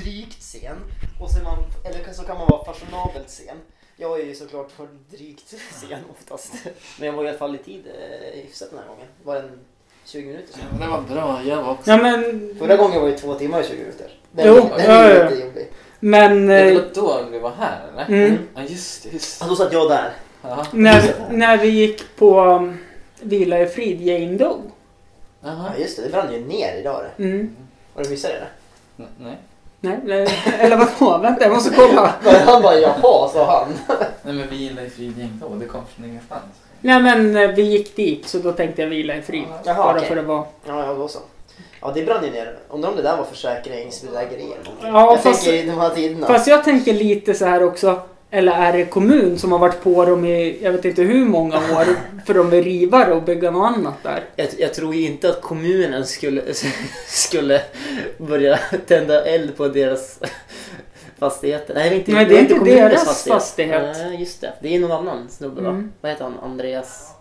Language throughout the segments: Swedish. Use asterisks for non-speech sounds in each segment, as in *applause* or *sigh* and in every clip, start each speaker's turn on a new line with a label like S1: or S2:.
S1: drygt sen och sen man, eller så kan man vara fashionabelt sen. Jag är ju såklart för drygt sen oftast. Men jag var i alla fall i tid eh, hyfsat den här gången. Var den 20 minuter sen?
S2: Det var bra, jag var också.
S3: Ja men...
S1: Förra gången var ju två timmar och 20 minuter. Den,
S3: Jo,
S1: den
S3: ja,
S1: är
S3: ja.
S1: lite jobbig.
S3: Men...
S2: Det
S3: Eh,
S2: var då vi var här eller?
S3: mm,
S2: Ja just det, just
S1: Ja,
S2: det.
S1: då satt jag där.
S2: Jaha.
S3: när, när vi gick på um, Vila i frid, Jane Doe.
S2: Jaha.
S1: Ja, just det, det brann ju ner idag det.
S3: Mm.
S1: Har du missat det? Där?
S2: N- Nej.
S3: Nej, nej, *laughs* eller vadå? Vänta, jag måste kolla.
S1: Men han bara jaha, sa han.
S2: Nej men vi gillar ju fridgäng då, det kom från ingenstans.
S3: Nej men eh, vi gick dit så då tänkte jag vila i frid.
S2: Ja.
S1: Jaha,
S3: Bara
S1: okej.
S3: för att vara...
S1: Ja, ja, då så. Ja, det brann ju ner. Undrar om det där var försäkringsbedrägeri eller någonting.
S3: Ja,
S1: jag
S3: fast-
S1: tänker i de här tiderna.
S3: Fast jag tänker lite så här också. Eller är det kommun som har varit på dem i jag vet inte hur
S1: *laughs*
S3: många år för de vill riva det och bygga något annat där?
S4: Jag, jag tror ju inte att kommunen skulle, *laughs* skulle börja tända eld på deras fastigheter. Nej, det är inte,
S3: Nej, det är inte
S4: kommunens
S3: deras fastighet.
S4: Nej, just det. Det är någon annan snubbe, va?
S3: Mm.
S4: Vad heter han? Andreas...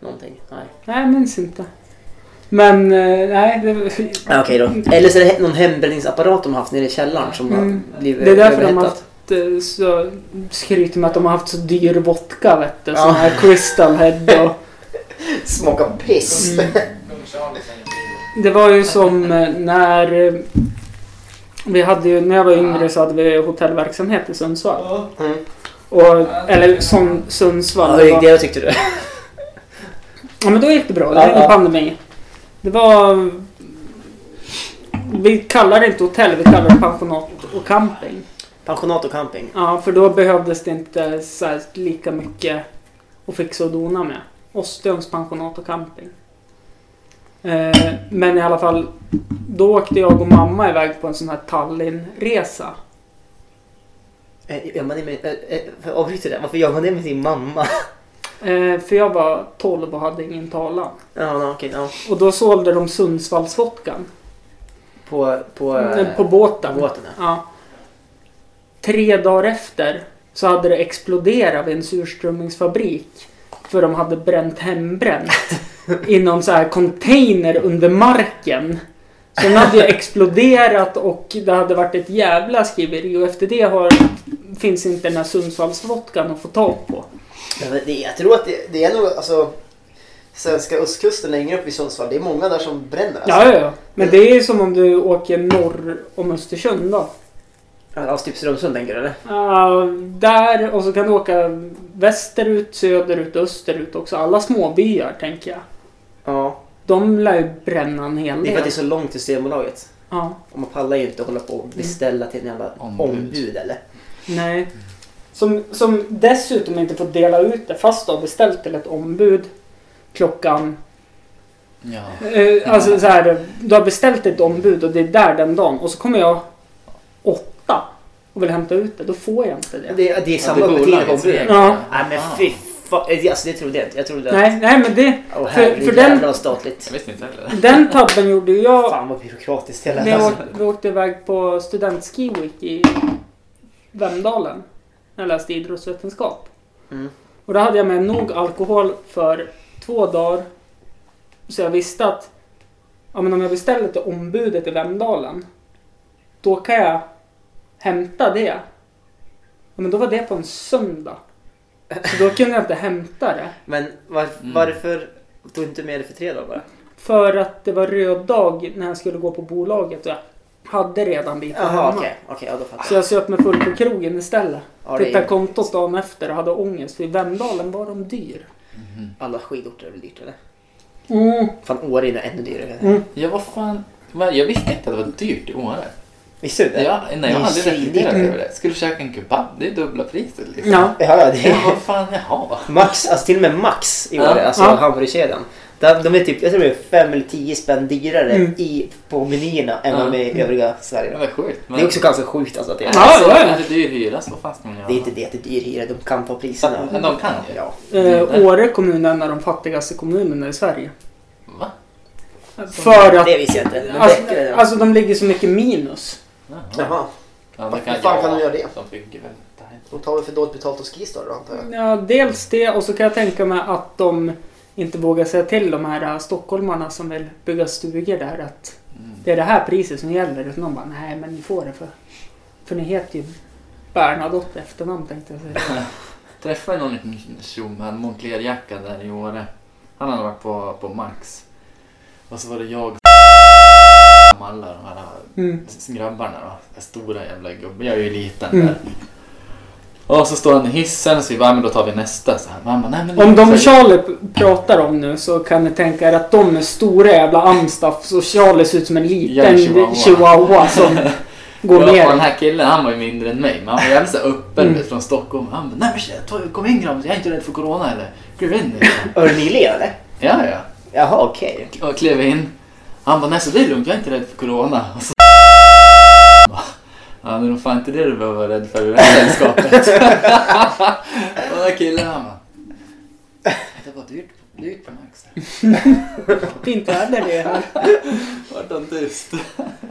S4: Någonting? Nej.
S3: Nej, jag minns inte. Men eh, nej, det,
S4: Ja, Okej då. Mm. Eller så är det he- någon hembränningsapparat de har haft nere i källaren som
S3: Mm.
S4: har blivit
S3: det är därför de har
S4: överhettad.
S3: haft eh, så skryter med att de har haft så dyr vodka vet du.
S4: Ja.
S3: Sån här crystal head och
S1: Smaka piss.
S3: Mm. Det var ju som eh, när eh, vi hade ju, när jag var yngre så hade vi hotellverksamhet i Sundsvall.
S1: Mm.
S3: Och, eller som Sundsvall.
S4: Ja,
S3: Det
S4: hur gick
S3: var,
S4: det tyckte du?
S3: ja men då gick det bra,
S4: Ja,
S3: det var ingen
S4: ja.
S3: pandemi. Det var... Vi kallar det inte hotell, vi kallar det pensionat och camping.
S4: Pensionat och camping.
S3: Ja, för då behövdes det inte så här lika mycket att fixa och dona med. Ostöms pensionat och camping. Eh, men i alla fall, då åkte jag och mamma iväg på en sån här Tallinnresa.
S4: Eh, Gör man det med... eh, eh, för- Avbryter det? Varför gör man det med sin mamma? *laughs*
S3: Eh, för jag var 12 och hade ingen talan.
S4: Ja, ja, okej. Ja.
S3: Och då sålde de Sundsvallsvodkan
S4: På... På,
S3: eh,
S4: eh,
S3: på båten.
S4: båten, ja.
S3: Ja. Tre dagar efter så hade det exploderat vid en surströmmingsfabrik. För de hade bränt hembränt i någon så här container under marken. Så den hade ju exploderat och det hade varit ett jävla skriveri och efter det har, finns inte den här Sundsvallsvodkan att få tag på.
S1: Ja, men det- Jag tror att det, det är nog alltså svenska östkusten längre upp i Sundsvall. Det är många där som bränner. Alltså.
S3: Ja, ja, ja. Men det är ju som om du åker norr om Östersund då.
S4: Ja, typ Strömsund tänker du eller?
S3: Ja, där och så kan du åka västerut, söderut, österut också. Alla småbyar tänker jag.
S4: Ja.
S3: De lär ju bränna en hel
S4: Det är för
S3: del.
S4: att det är så långt till Systembolaget.
S3: Ja,
S4: Och man pallar ju inte hålla på och beställa till en jävla
S2: Ombud.
S4: ombud, eller?
S3: nej. Som, som dessutom inte får dela ut det fast du har beställt till ett ombud klockan...
S2: Ja.
S3: Eh, alltså så här, du har beställt ett ombud och det är där den dagen och så kommer jag åtta och vill hämta ut det. Då får jag inte det.
S4: Det, det är samma
S2: det är
S4: öppettider på
S2: bolagets
S4: ombudet.
S2: regler.
S3: Ja.
S4: Nej men fy fan. eh, Alltså det trodde jag inte. Jag trodde att...
S3: Nej, nej men det,
S4: Åh
S3: för
S4: herregud
S3: den-
S4: jävlar vad statligt.
S2: Jag visste inte heller.
S3: den tabben gjorde ju jag
S1: Fan vad byråkratiskt det
S3: Vi
S1: lät.
S4: alltså-
S1: alltså.
S3: åkte, vi åkte iväg på studentski week i Vemdalen. När jag läste idrottsvetenskap.
S4: Mm.
S3: Och då hade jag med nog alkohol för två dagar. Så jag visste att ja, men om jag beställer till ombudet i Vemdalen. Då kan jag hämta det. Ja, men då var det på en söndag. Så då kunde jag inte hämta det.
S4: Men var,
S2: Mm.
S4: varför tog du inte med det för tre dagar bara?
S3: För att det var röd dag när jag skulle gå på bolaget. Och jag hade redan bitar
S4: Jaha okej. Okej, ja då fattar
S3: Så jag söp mig full på krogen istället.
S4: jag. Ja, det
S3: Tittade
S4: är,
S3: kontot dagen efter och hade ångest för i Vemdalen var de dyr.
S4: alla skidorter är väl dyrt eller?
S3: Mm.
S4: Fan Åre är nog ännu dyrare.
S3: Mm.
S2: Ja vad fan. Men jag visste inte att det var dyrt i Åre.
S4: Visste du det?
S2: Jag, nej, jag har aldrig
S4: Det är
S2: reflekterat
S4: svindyrt.
S2: över det. Skulle käka en kebab, det är dubbla priset liksom.
S3: Ja.
S4: Ja, ja, det
S2: Ja,
S4: är... *laughs*
S2: vad fan, jaha.
S4: Max, alltså till och med Max i
S2: Ja.
S4: Åre, alltså
S3: Ja.
S4: hamburgerkedjan. Där- De är typ, jag tror de är fem eller tio spänn dyrare
S3: Mm.
S4: i, på menyerna än vad de är i övriga Sverige.
S2: Det var sjukt. Men
S4: Det är också ganska sjukt alltså att det är.
S3: Ja,
S2: alltså,
S3: ja, ja.
S2: är det dyr hyra så vad fan ska man göra?
S4: Det är inte det att det är dyr hyra, de kan ta priserna.
S2: Men de kan ju.
S4: Ja. Mm.
S3: Eh, Åre kommun är en av de fattigaste kommunerna i Sverige.
S2: Va?
S3: För att
S4: Det visste jag inte. Men Bäckre är
S3: alltså,
S4: det.
S3: alltså de ligger så mycket minus.
S2: Jaha.
S1: Jaha,
S2: Ja,
S1: Vad fan kan de göra det?
S2: De bygger väl det här.
S1: de tar väl för dåligt betalt hos Skistar då antar jag.
S3: Ja, dels det och så kan jag tänka mig att de inte vågar säga till de här äh, stockholmarna som vill bygga stugor där att
S2: Mm.
S3: det är det här priset som gäller. Utan de bara, nej men ni får det för, för ni heter ju Bernadotte i efternamn tänkte jag säga.
S2: *laughs* Träffade någon liten tjomme, han hade Montlerjacka där i Åre. Han hade varit på, på Max. Och så var det jag och alla de här
S3: Mm.
S2: grabbarna då. Den Stora jävla gubben, jag är ju liten
S3: Mm.
S2: där. Och så står han i hissen så vi bara, "Ja, men då tar vi nästa. Så här, mamma, nej, men
S3: Om de
S2: så här,
S3: Charlie p- pratar om nu så kan ni tänka er att de är stora jävla amstaff så Charlie ser ut som en liten
S2: Ja, chihuahua.
S3: chihuahua som
S2: *laughs*
S3: går
S2: jag
S3: ner.
S2: och den här killen han var ju mindre än mig men han var jävligt så här öppen mm. från Stockholm. Han bara, nej men tjena, ta- kom in grabben, jag är inte rädd för corona eller? Kliv in. liksom.
S1: Örnilé eller?
S2: ja, ja.
S1: Jaha, okej.
S2: och klev in. Han bara, nej så det är lugnt, jag är inte rädd för corona. Och så... Ja, det är nog fan inte det du behöver vara rädd för i det här sällskapet. och den där killen han bara, det var dyrt, dyrt på Max.
S3: Fint väder det är här.
S2: Vart han tyst?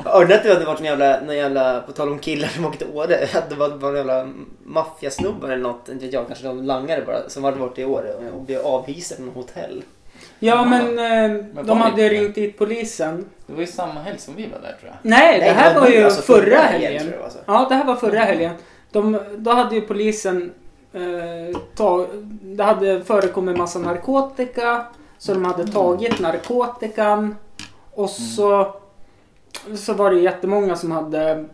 S1: Hörde att det hade varit en jävla, någon jävla, på tal om killar som åkte till Åre, *laughs* att det var var någon jävla maffiasnubbar eller något, inte vet jag, kanske de langare bara, som hade varit i Åre och blev avhysa från hotell.
S3: Ja men, eh,
S2: Men
S3: de
S2: var
S3: hade
S2: det-
S3: ringt dit polisen.
S2: Det var ju samma helg som vi var där tror jag.
S3: Nej, det här var ju
S1: alltså
S3: förra helgen.
S1: tror jag, alltså.
S3: Ja, det här var förra helgen. De, då hade ju polisen... Eh, tag, det hade förekommit massa narkotika. Så de hade tagit narkotikan. Och så, så var det jättemånga som hade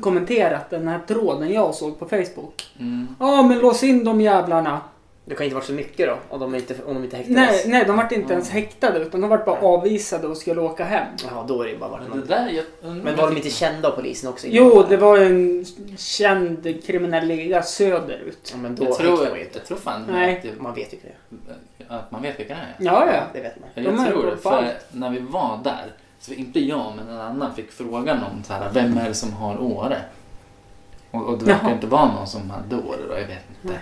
S3: kommenterat den här tråden jag såg på Facebook.
S2: Mm.
S3: Ja, men lås in de jävlarna.
S1: Det kan inte varit så mycket då, om de inte, om de inte häktades.
S3: Nej, nej, de vart inte ens häktade utan de vart bara avvisade och skulle åka hem.
S1: Jaha, då är det ju bara varit
S2: Men det
S1: någon.
S2: där, jag undrar
S1: Men
S2: om
S1: var de
S2: jag
S1: inte
S2: fick-
S1: kända av polisen också?
S3: Jo, det var en känd kriminell liga söderut.
S1: Ja, men då
S2: jag tror,
S1: häktar man ju inte.
S2: jag tror fan
S3: Nej.
S2: Att, det,
S1: Man vet ju inte det.
S2: att man vet vilka det är.
S3: Ja, ja.
S1: Det vet man. *laughs*
S2: Jag
S3: De är
S2: tror
S3: på
S2: det,
S3: fall.
S2: för när vi var där, så inte jag men en annan fick frågan om så här, vem är det som har Åre? Och, och det verkar
S3: Jaha.
S2: inte vara någon som hade Åre då, jag vet inte.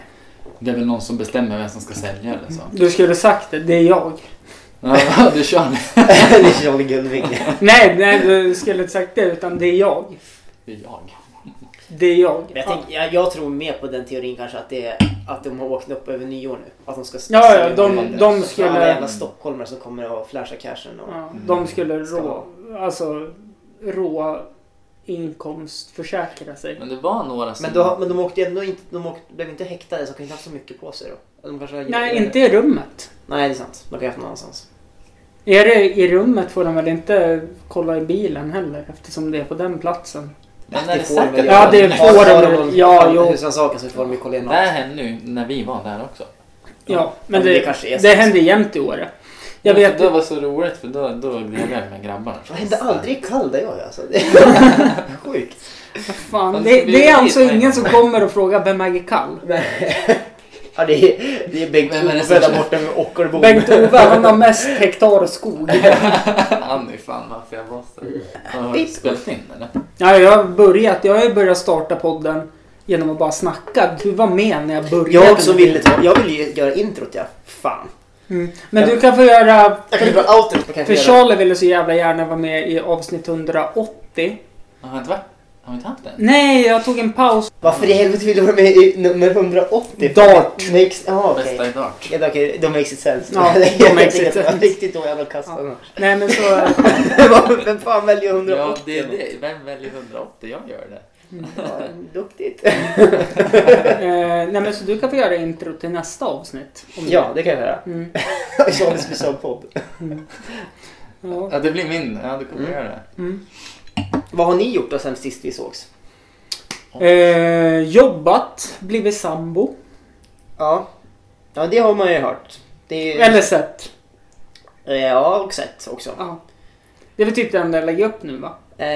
S2: Det är väl någon som bestämmer vem som ska sälja eller
S1: Mm.
S2: så.
S3: Du skulle sagt det, det är jag.
S2: *laughs* Ja, du kör nu.
S1: det är Charlie Gullving.
S3: Nej, nej du skulle inte sagt det utan det är jag.
S2: Det är jag.
S3: Det är jag.
S1: Jag, tänk, jag, jag tror mer på den teorin kanske att, det är, att de har åkt upp över nyår nu. Att de ska
S3: Ja, ja,
S1: sälja
S3: de-
S1: biljetter.
S3: de
S1: Så
S3: skulle-
S1: Alla jävla stockholmare som kommer och flashar cashen. Och,
S3: Ja, de skulle rå, alltså, rå inkomstförsäkra sig.
S2: Men det var några som...
S1: men, då, men de åkte ju ändå inte, de åkte, blev inte häktade så de kan inte ha haft så mycket på sig då. De kanske har-
S3: Nej, inte i rummet.
S1: Nej, det är sant. De kan ha haft någon annanstans.
S3: Är det i rummet får de väl inte kolla i bilen heller eftersom det är på den platsen.
S2: men är det
S1: får de
S2: säkert?
S1: väl
S3: Ja,
S1: göra.
S3: det
S1: Har-
S3: får de
S1: har
S3: väl.
S1: någon-
S3: Ja,
S1: har-
S3: jo.
S1: Husrannsakan så får de ju kolla
S2: Det
S1: igenom.
S2: här hände ju när vi var där också.
S3: Ja, men
S1: Ja, det
S3: det,
S1: kanske är
S3: det,
S1: så.
S3: händer jämt i Åre. Jag
S2: Ja,
S3: vet
S2: för Det var så roligt för då, då delade jag med grabbarna.
S1: Det hände aldrig i kall där jag är, alltså.
S2: *laughs*
S1: Det är sjukt.
S3: Fan,
S2: Men
S3: det,
S2: ska vi
S3: det är
S2: dit
S3: alltså
S2: med en
S3: ingen
S2: gång?
S3: som kommer och frågar vem äger kall.
S1: Ja, det är, det är
S2: Vem är det
S1: Bengt-Ove
S2: som-
S1: där borta med Ockelbo.
S3: Bengt-Ove, han har mest hektar skog.
S2: Han är fan maffiabossen. Har du spelat in eller?
S3: Ja, jag har börjat. Jag har ju börjat starta podden genom att bara snacka. Du var med när jag började.
S1: Jag som ville ta, jag ville ju göra introt ja. Fan.
S3: Mm. Men du kan få göra...
S1: Jag kan ju dra outrot på kanske
S3: För
S1: göra.
S3: Charlie ville så jävla gärna vara med i avsnitt 180.
S2: Har han inte varit? Har vi inte haft
S1: Mm,
S2: den?
S3: Nej, jag tog en paus.
S1: Varför i helvete vill du vara med i nummer 180?
S3: Dart.
S1: Makes, ja okej.
S2: Bästa i dart.
S1: Ja, okej, de makes it sense. *laughs*
S3: Ja, de makes it sense.
S1: Riktigt då jävla kast *laughs* annars.
S3: Nej, men så...
S1: Vem fan väljer 180?
S2: Ja, det är det. Vem väljer 180? Jag gör det.
S1: Ja, duktigt.
S3: eh, nej, men så du kan få göra intro till nästa avsnitt. Om
S1: *laughs*
S3: du-
S1: Ja, det kan jag *laughs* göra.
S3: Mm.
S1: Charlie specialpodd.
S3: Ja.
S2: Ja, det blir min. Ja, du kommer
S1: Mm.
S2: göra det.
S3: Mm.
S1: Vad har ni gjort då sen sist vi sågs?
S3: Eh, jobbat, blivit sambo.
S1: Ja. Ja, det har man ju hört. Det är ju...
S3: Eller sett.
S1: Eh, Ja, och sett också.
S3: Ja. Det är väl typ det enda jag lägger upp nu va?
S1: Eh,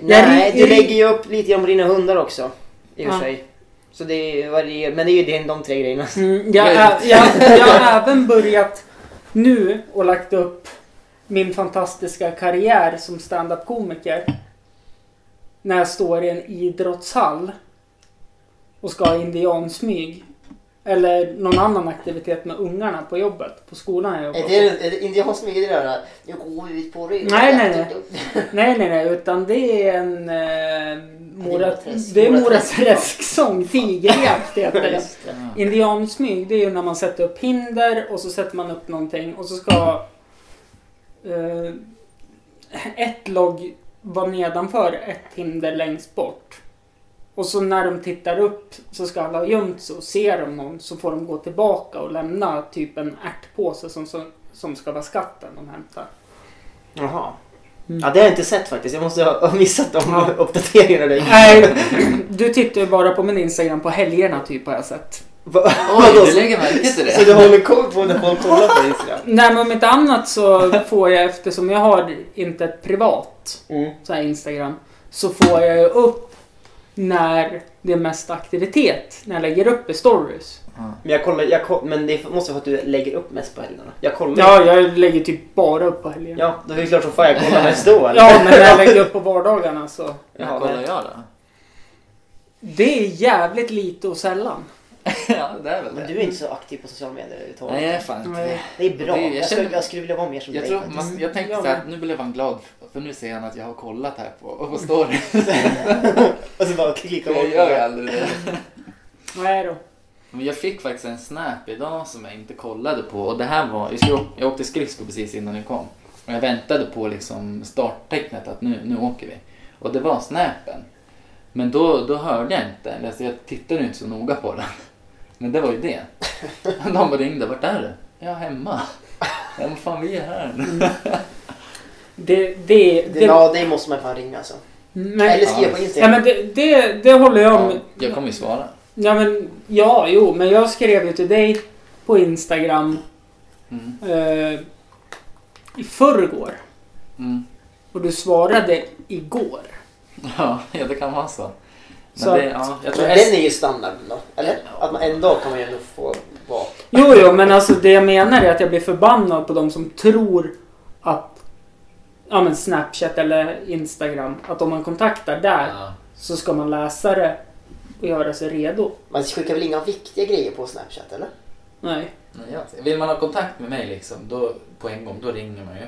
S1: nej,
S3: ri-
S1: du
S3: ri-
S1: lägger ju upp lite grann på dina hundar också. I och för
S3: Ja.
S1: sig. Så det varierar. Men det är ju det- de tre grejerna.
S3: Mm, jag, ä- jag, jag har även börjat nu och lagt upp min fantastiska karriär som standup-komiker. När jag står i en idrottshall och ska ha indiansmyg. Eller någon annan aktivitet med ungarna på jobbet, på skolan jag jobbar
S1: Är
S3: på.
S1: det, är det indiansmyg det där? Jag går ut på det.
S3: Nej, nej, nej. Nej, nej, nej, utan det är en eh, Mora,
S1: Moraträsk.
S3: det är Mora
S1: Moraträsk.
S3: Träsksång, tigerjakt heter det.
S2: Ja.
S3: Indiansmyg, det är ju när man sätter upp hinder och så sätter man upp någonting och så ska eh, ett logg vara nedanför ett hinder längst bort. Och så när de tittar upp så ska alla ha gömt sig och ser de någon så får de gå tillbaka och lämna typ en ärtpåse som, som, som ska vara skatten de hämtar.
S1: Jaha.
S3: Mm.
S1: Ja, det har jag inte sett faktiskt. Jag måste ha ha missat de
S3: Ja.
S1: uppdateringarna. Där.
S3: Nej, du tittar ju bara på min Instagram på helgerna typ har jag sett.
S1: *laughs* Va-
S2: Oj, du lägger märke *laughs* till
S1: Så
S2: det?
S1: du håller koll på när folk kollar
S2: *laughs*
S1: på Instagram?
S3: Nej men om inte annat så får jag eftersom jag har inte ett privat
S2: Mm.
S3: så här Instagram så får jag ju upp när det är mest aktivitet när jag lägger upp i stories.
S1: Men, jag kollar, jag koll, men det måste vara för att du lägger upp mest på helgerna. Jag kollar
S3: Ja, jag lägger typ bara upp på helgen.
S1: ja, då är det klart som fan jag kollar mest
S2: *laughs*
S1: då. eller?
S3: Ja, men när
S1: *laughs*
S3: *laughs* jag lägger upp på vardagarna så.
S2: När kollar jag då?
S3: Det är jävligt lite och sällan.
S2: *laughs* Ja, det är väl
S1: Men
S2: det.
S1: du är inte så aktiv på sociala medier överhuvudtaget.
S2: Nej, jag är fan inte det.
S1: Det är bra.
S2: Det är- jag
S1: jag, skulle,
S2: känner-
S1: jag skulle vilja vara mer som
S2: Jag,
S1: dig
S2: tror,
S1: faktiskt.
S2: man, jag tänkte
S3: Ja,
S2: så här, nu blev han glad för nu ser han att jag har kollat här på, *laughs* och på story.
S1: Och så bara klicka
S2: Jag
S1: bort.
S2: gör ju aldrig det.
S3: Vad är det?
S2: Men jag fick faktiskt en snap idag som jag inte kollade på och det här var, jag, skulle, åk- jag åkte skridskor precis innan ni kom. Och jag väntade på liksom starttecknet att nu, nu åker vi. Och det var snapen. Men då, då hörde jag inte, eller alltså jag tittade ju inte så noga på den. Men det var ju det. De bara ringde, vart är du? Jag är hemma. Ja men fan vi är här nu.
S3: Det, det, det,
S1: Det, ja, det måste man fan ringa alltså. Eller
S3: men,
S1: skriva på
S3: ja,
S1: Instagram.
S3: men det, det, det håller jag
S2: Ja,
S3: om.
S2: jag kommer ju svara.
S3: Ja, men, ja, jo, men jag skrev ju till dig på Instagram
S2: Mm.
S3: eh, i förrgår
S2: Mm. *laughs*
S3: och du svarade igår.
S2: Ja, ja, det kan vara så. Men
S3: Så
S2: det,
S3: att-
S2: ja, jag tror
S1: Men
S2: S-
S1: den är ju standarden då. Eller? Att man en dag kan man ju ändå få vara.
S3: Jo, jo, men alltså det jag menar är att jag blir förbannad på de som tror att ja, men Snapchat eller Instagram, att om man kontaktar där
S2: ja.
S3: så ska man läsa det och göra sig redo.
S1: Man skickar väl inga viktiga grejer på Snapchat eller?
S3: Nej.
S2: Nej, jag ser. Vill man ha kontakt med mig liksom, då, på en gång, då ringer man ju.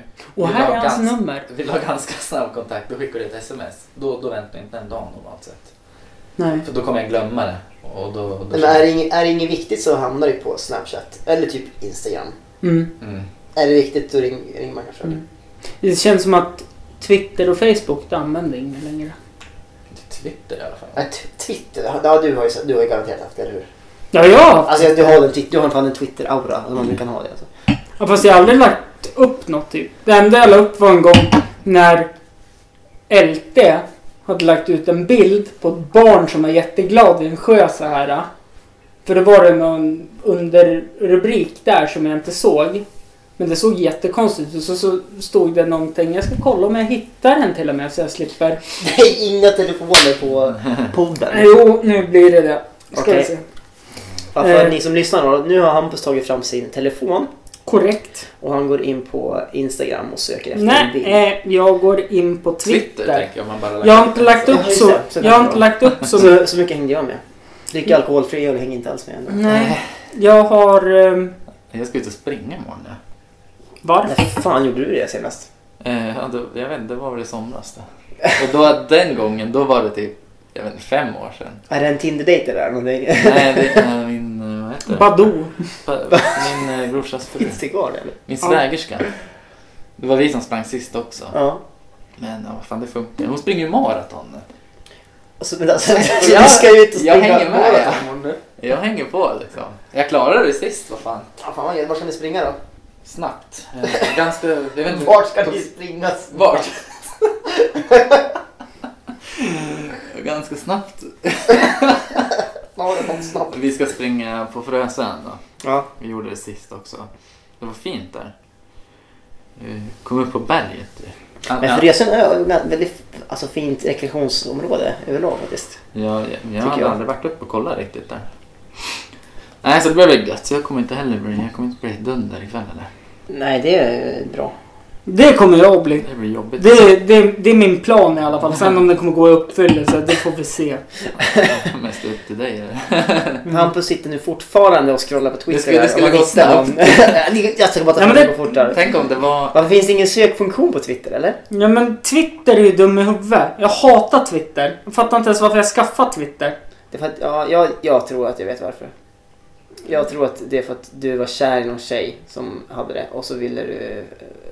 S3: Och
S2: Vill
S3: här
S2: ha
S3: är hans
S2: gans- *laughs*
S3: nummer.
S2: Vill ha ganska snabb kontakt, då skickar du ett sms. Då, då väntar jag inte en dag normalt sett.
S3: Nej.
S2: För då kommer jag glömma det. Och då, då
S1: Men är det, inget, är det inget viktigt så hamnar det ju på Snapchat. Eller typ Instagram.
S3: Mm.
S2: Mm.
S1: Är det viktigt då ring, ringer man kanske.
S3: Mm. Det känns som att Twitter och Facebook, det använder ingen längre.
S2: Till Twitter i alla fall.
S1: Nej, t- Twitter. Ja, du har ju, du har ju garanterat haft det, eller hur?
S3: Ja, jag har haft.
S1: Alltså du har, den, Twit- du har fan en Twitter-aura. Alltså, man kan ha det *laughs* alltså.
S3: Ja, fast jag har aldrig lagt upp något typ. Det enda jag la upp var en gång när LT hade lagt ut en bild på ett barn som var jätteglad vid en sjö så här. För det var det någon underrubrik där som jag inte såg. Men det såg jättekonstigt ut. Så, så stod det någonting. Jag ska kolla om jag hittar den till och med så jag slipper.
S1: Det är inga telefoner på *laughs* podden.
S3: Jo, nu blir det det. Ska
S1: Okej.
S3: vi se.
S1: Ja, för
S3: Eh.
S1: ni som lyssnar då, nu har Hampus tagit fram sin telefon
S3: Korrekt.
S1: och han går in på Instagram och söker efter en bild.
S3: Nej, eh, jag går in på
S2: Twitter,
S3: Twitter.
S2: tänker jag. om Man bara
S3: Jag har inte lagt
S1: Ja,
S3: upp
S1: just
S3: så,
S1: det. Så där
S3: jag har
S1: bra.
S3: inte lagt
S2: *laughs*
S3: upp så
S1: Så, så mycket hängde jag med. Dricker
S2: Mm.
S1: alkoholfri öl hänger inte alls med ändå.
S3: Nej, jag har... ehm,
S2: Jag ska ut och springa imorgon. Ja.
S3: varför?
S1: När fan gjorde du det senast?
S2: Eh, ja, då, jag vet inte, det var väl i somras det. *laughs* Och då, den gången, då var det typ, jag vet inte, fem år sedan.
S1: Är det en Tinder-dejt eller någonting?
S2: Nej, det är min, eh, vad heter det?
S3: Badoo.
S2: Pa- Min eh, brorsas
S1: *laughs*
S2: fru.
S1: Finns det kvar det, eller?
S2: Min
S3: Ja.
S2: svägerska. Det var vi som sprang sist också.
S1: Ja.
S2: Men ja, vad fan det funkar. Hon springer ju maraton. nu.
S1: Alltså, men alltså, *laughs*
S2: Ja,
S1: du ska ju ut och springa
S2: jag hänger med,
S1: båda
S2: ja.
S1: imorgon nu.
S2: Jag hänger på liksom. Jag klarade det sist, vad fan.
S1: Ja, fan vad gör- Var ska ni springa då?
S2: Snabbt. Eh, Ganska, jag vet inte.
S1: Vart ska ni springa?
S2: Vart? *laughs* Ganska snabbt.
S1: Ja, det var snabbt.
S2: Vi ska springa på Frösön då.
S1: Ja.
S2: Vi gjorde det sist också. Det var fint där. Vi kom upp på berget. ju.
S1: Men Frösön är ett väldigt alltså, fint rekreationsområde överlag faktiskt.
S2: Jag, jag, jag har
S1: jag.
S2: aldrig varit uppe och kollat riktigt där. Nej, så det blev väl gött. Så jag kommer inte heller bli, jag kommer inte bli dunder ikväll eller?
S1: Nej, det är bra.
S3: Det kommer jag att bli.
S2: Det blir jobbigt.
S3: Det, det, det är min plan i alla fall. Sen om det kommer gå i uppfyllelse, det får vi se.
S2: *laughs* Mest upp till dig. eller?
S1: Mm.
S4: Hampus sitter nu fortfarande och scrollar på Twitter.
S2: Det skulle- det
S4: där,
S2: skulle
S4: om man
S2: gå
S4: hittar
S1: *laughs*
S4: någon. jag ska bara ta
S3: Ja,
S4: fram
S3: men
S4: det
S3: det-
S4: på fortare.
S2: Tänk om det var...
S4: Varför finns det ingen sökfunktion på Twitter eller?
S3: Ja men Twitter är ju dum i huvudet. Jag hatar Twitter. Jag fattar inte ens varför jag skaffade Twitter.
S4: Det är för att, ja, jag, jag tror att jag vet varför. Jag tror att det är för att du var kär i någon tjej som hade det och så ville du eh,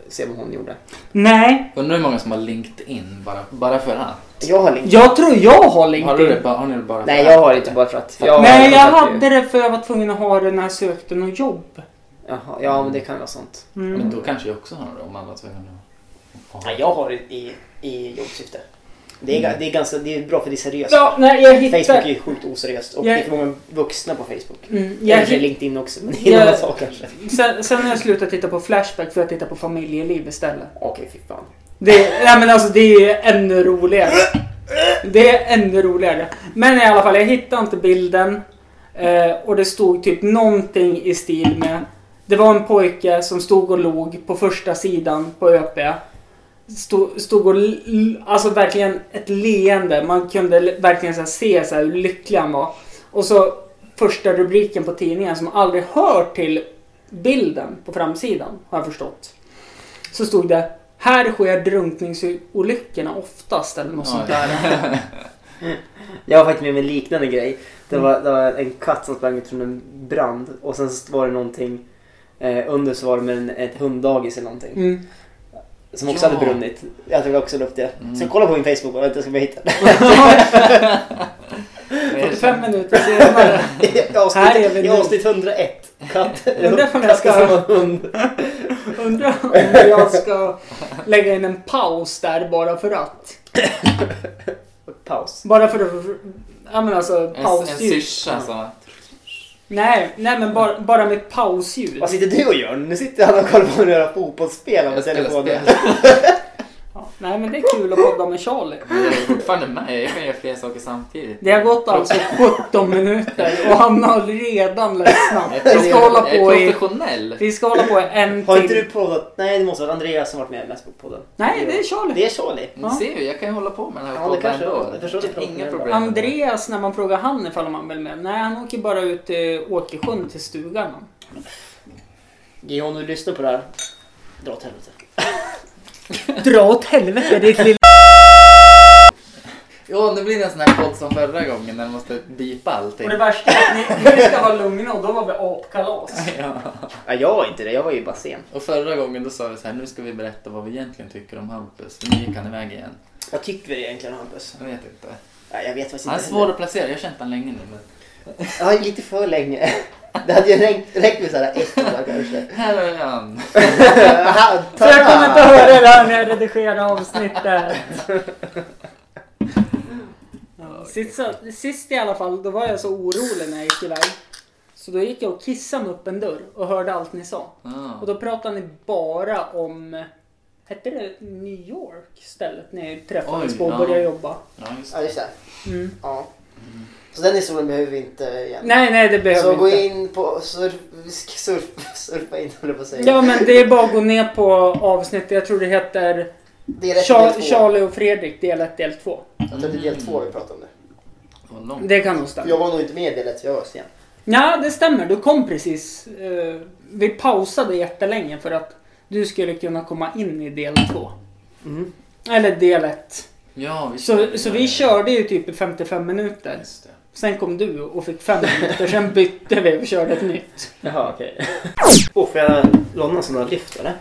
S4: se vad hon gjorde.
S3: Nej,
S2: Undrar hur många som har LinkedIn bara, bara för att?
S4: Jag har LinkedIn.
S3: jag tror jag har LinkedIn.
S2: Har, du det, bara- har ni det bara för
S4: Nej,
S2: att?
S4: jag har det inte bara för att. Jag
S3: Nej, jag
S4: kontaktar ju-
S3: hade det för jag var tvungen att ha det när jag sökte något jobb.
S4: Jaha, ja, men det kan vara sånt.
S3: Mm.
S2: Men då kanske jag också har det om alla var tvungna att ha
S1: Ja,
S2: det.
S1: jag har det i, i jobbsyfte. Det är,
S4: Mm.
S1: ga- det, är ganska, det är bra för det är seriöst.
S3: Ja, nej, jag
S1: Facebook
S3: hittade...
S1: är sjukt oseriöst och
S3: Jag-
S1: det är för många vuxna på Facebook.
S3: Mm,
S1: Jag
S3: jag
S1: Eller
S3: hitt...
S1: LinkedIn också, men det är en
S3: Jag-
S1: annan sak kanske.
S3: sen, sen har jag slutat titta på Flashback för att titta på familjeliv istället.
S1: Okej, fy fan.
S3: Det, nej men alltså det är ännu roligare. *laughs* Det är ännu roligare. Men i alla fall, jag hittade inte bilden. Eh, och det stod typ någonting i stil med... Det var en pojke som stod och log på första sidan på ÖP. Stod, stod och... l- l- Alltså verkligen ett leende. Man kunde l- verkligen så här se så här hur lycklig han var. Och så första rubriken på tidningen som aldrig hör till bilden på framsidan, har jag förstått. Så stod det Här sker drunkningsolyckorna oftast eller något sånt där.
S2: *laughs*
S4: Jag har faktiskt med mig en liknande grej. Det
S3: Mm.
S4: var, det var en katt som sprang ut från en brand och sen så var det någonting eh, under så var det med en, ett hunddagis eller någonting.
S3: Mm.
S4: Som också
S2: Ja.
S4: hade brunnit. Jag tog också upp det.
S2: Mm.
S1: Så kolla på min Facebook bara, vänta jag ska bara hitta det.
S3: 45
S1: *laughs*
S3: minuter senare.
S1: I
S3: Mm. Här är vi
S1: avsnitt, i
S3: nu.
S1: avsnitt 101.
S3: *laughs*
S1: Katt.
S3: Undrar om jag
S1: katt som
S3: ska,
S1: har hund.
S3: undrar om jag ska lägga in en paus där bara för att.
S1: Paus.
S3: Bara för att... Ja men alltså
S2: En, en
S3: pausljud.
S2: syrsa alltså. som...
S3: Nej, nej men bara, bara mitt pausljud.
S2: Alltså-
S1: Vad sitter du och gör? Nu sitter han och kollar på några fotbollsspel på
S2: Jag spelar
S1: telefonen.
S3: *laughs*
S2: spel.
S3: Ja, nej men det är kul att podda med Charlie.
S2: Men jag är fortfarande med. Jag kan göra flera saker samtidigt.
S3: Det har gått alltså 17 minuter och han har redan ledsnat. Vi ska hålla
S2: Jag
S3: på
S2: är
S3: i,
S2: professionell.
S3: vi ska hålla på i en
S1: Har inte du
S3: till.
S1: poddat? Nej, det måste vara Andreas som varit med mest på podden.
S3: Nej, det är Charlie.
S1: Det är Charlie.
S2: Ni ser ju, jag kan ju hålla på med den här
S1: Ja, det
S2: podden
S1: kanske-
S2: ändå.
S1: jag förstår det.
S2: Inga problem.
S3: Andreas, när man frågar han ifall han vill med. Nej, han åker bara ut till Åkersjön till stugan. han.
S1: Ge om du lyssnar på det här. Dra åt helvete.
S3: Dra åt helvete ditt lilla...
S2: Ja, nu blir det en sån här podd som förra gången när man måste bipa allting.
S3: Och det värsta är att ni, ni ska vara lugna och då var
S2: *laughs*
S3: vi apkalas.
S2: *laughs* Ja.
S1: Ja, jag var inte det. Jag var ju bara sen.
S2: Och förra gången då sa vi så här, nu ska vi berätta vad vi egentligen tycker om Hampus. Men nu gick han iväg igen.
S1: Vad tycker vi egentligen om Hampus?
S2: Jag vet inte.
S1: Ja, jag vet faktiskt
S2: Han är
S1: inte.
S2: svår att placera, jag har känt han länge nu. Men...
S1: heller. Ja, lite för länge. *laughs* Det hade ju räckt, räckt med sådär ett år
S4: *laughs*
S1: kanske.
S2: Här är han.
S1: Aha,
S3: Så jag kommer inte höra det här när jag redigerar avsnittet. Ja, Sist, sist i alla fall, då var jag så orolig när jag gick iväg. Så då gick jag och kissade mig upp en dörr och hörde allt ni sa. Och
S2: Ja.
S3: då pratade ni bara om... Hette det New York stället när ni träffades
S2: Oj,
S3: på och
S2: ja.
S3: började jobba?
S2: Ja, just
S1: Ja,
S2: det.
S1: just det.
S3: Mm.
S1: Ja. Så den historien behöver vi inte igen.
S3: Nej, nej, det behöver
S1: Så
S3: vi
S1: gå
S3: inte.
S1: in på... Surf, surf, *laughs* surfa in höll jag på att säga.
S3: Ja, men det är bara att gå ner på avsnittet. Jag tror det heter
S1: Det är rätt
S3: Char-
S1: del två.
S3: Charlie och Fredrik del 1, del 2.
S1: Jag tror det är del två vi pratar om nu.
S2: Vad långt.
S3: Det kan nog
S1: För
S3: stämma.
S1: Jag var nog inte med i del ett, jag var sen.
S3: Ja, det stämmer. Du kom precis. Eh, vi pausade jättelänge för att du skulle kunna komma in i del 2.
S4: Mm.
S3: Eller del 1.
S2: Ja, vi
S3: Så, så vi körde ju typ i 55 minuter.
S2: Just det.
S3: Sen kom du och fick 5 minuter. Sen bytte vi och körde ett nytt.
S4: Jaha, okej. *laughs* oh, får jag låna en sån där lyft eller?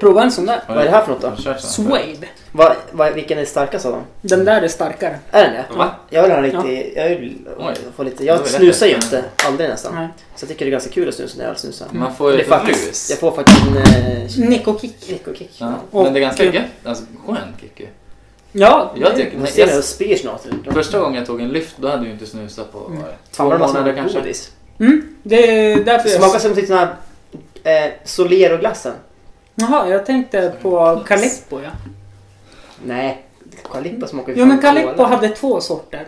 S3: Prova en sån där.
S4: Vad är det här för något då?
S2: Jag kör så.
S3: Suede.
S4: Va, va, vilken är starkast av dem?
S3: Den där är starkare.
S4: Är den det?
S2: Va?
S4: Jag vill ha en riktig... Jag, vill
S2: Oj.
S4: få lite,
S2: Det Mm. var
S4: jag
S2: rätt
S4: snusar ju
S2: rätt.
S4: inte. Aldrig nästan.
S3: Nej.
S4: Så jag tycker det är ganska kul att snusa när jag snusar.
S2: Man får ju
S4: Det är
S2: ett
S4: faktiskt-
S2: rus.
S4: Jag får faktiskt en... Eh,
S3: Nick och Kick.
S4: kick och kick.
S2: Ja.
S3: Och-
S2: Men det är ganska gött. Alltså, skön kick ju.
S3: Ja,
S2: Jag
S4: Vi
S2: tycker...
S4: får
S2: Nej,
S4: se när
S2: jag,
S4: jag spyr snart.
S2: första gången jag tog en lyft, då hade jag ju inte snusat på vad var det, två
S4: Mm. Fan vad det
S2: månader
S4: smakar
S2: kanske.
S4: som godis.
S3: mm, det är därför
S4: Det
S3: jag...
S4: smakar som typ den här eh, Solero-glassen.
S3: Jaha, jag tänkte på Calippo ja.
S4: Nej, Calippo smakar ju
S3: Jo
S4: fan
S3: men Calippo
S4: cola.
S3: hade två sorter.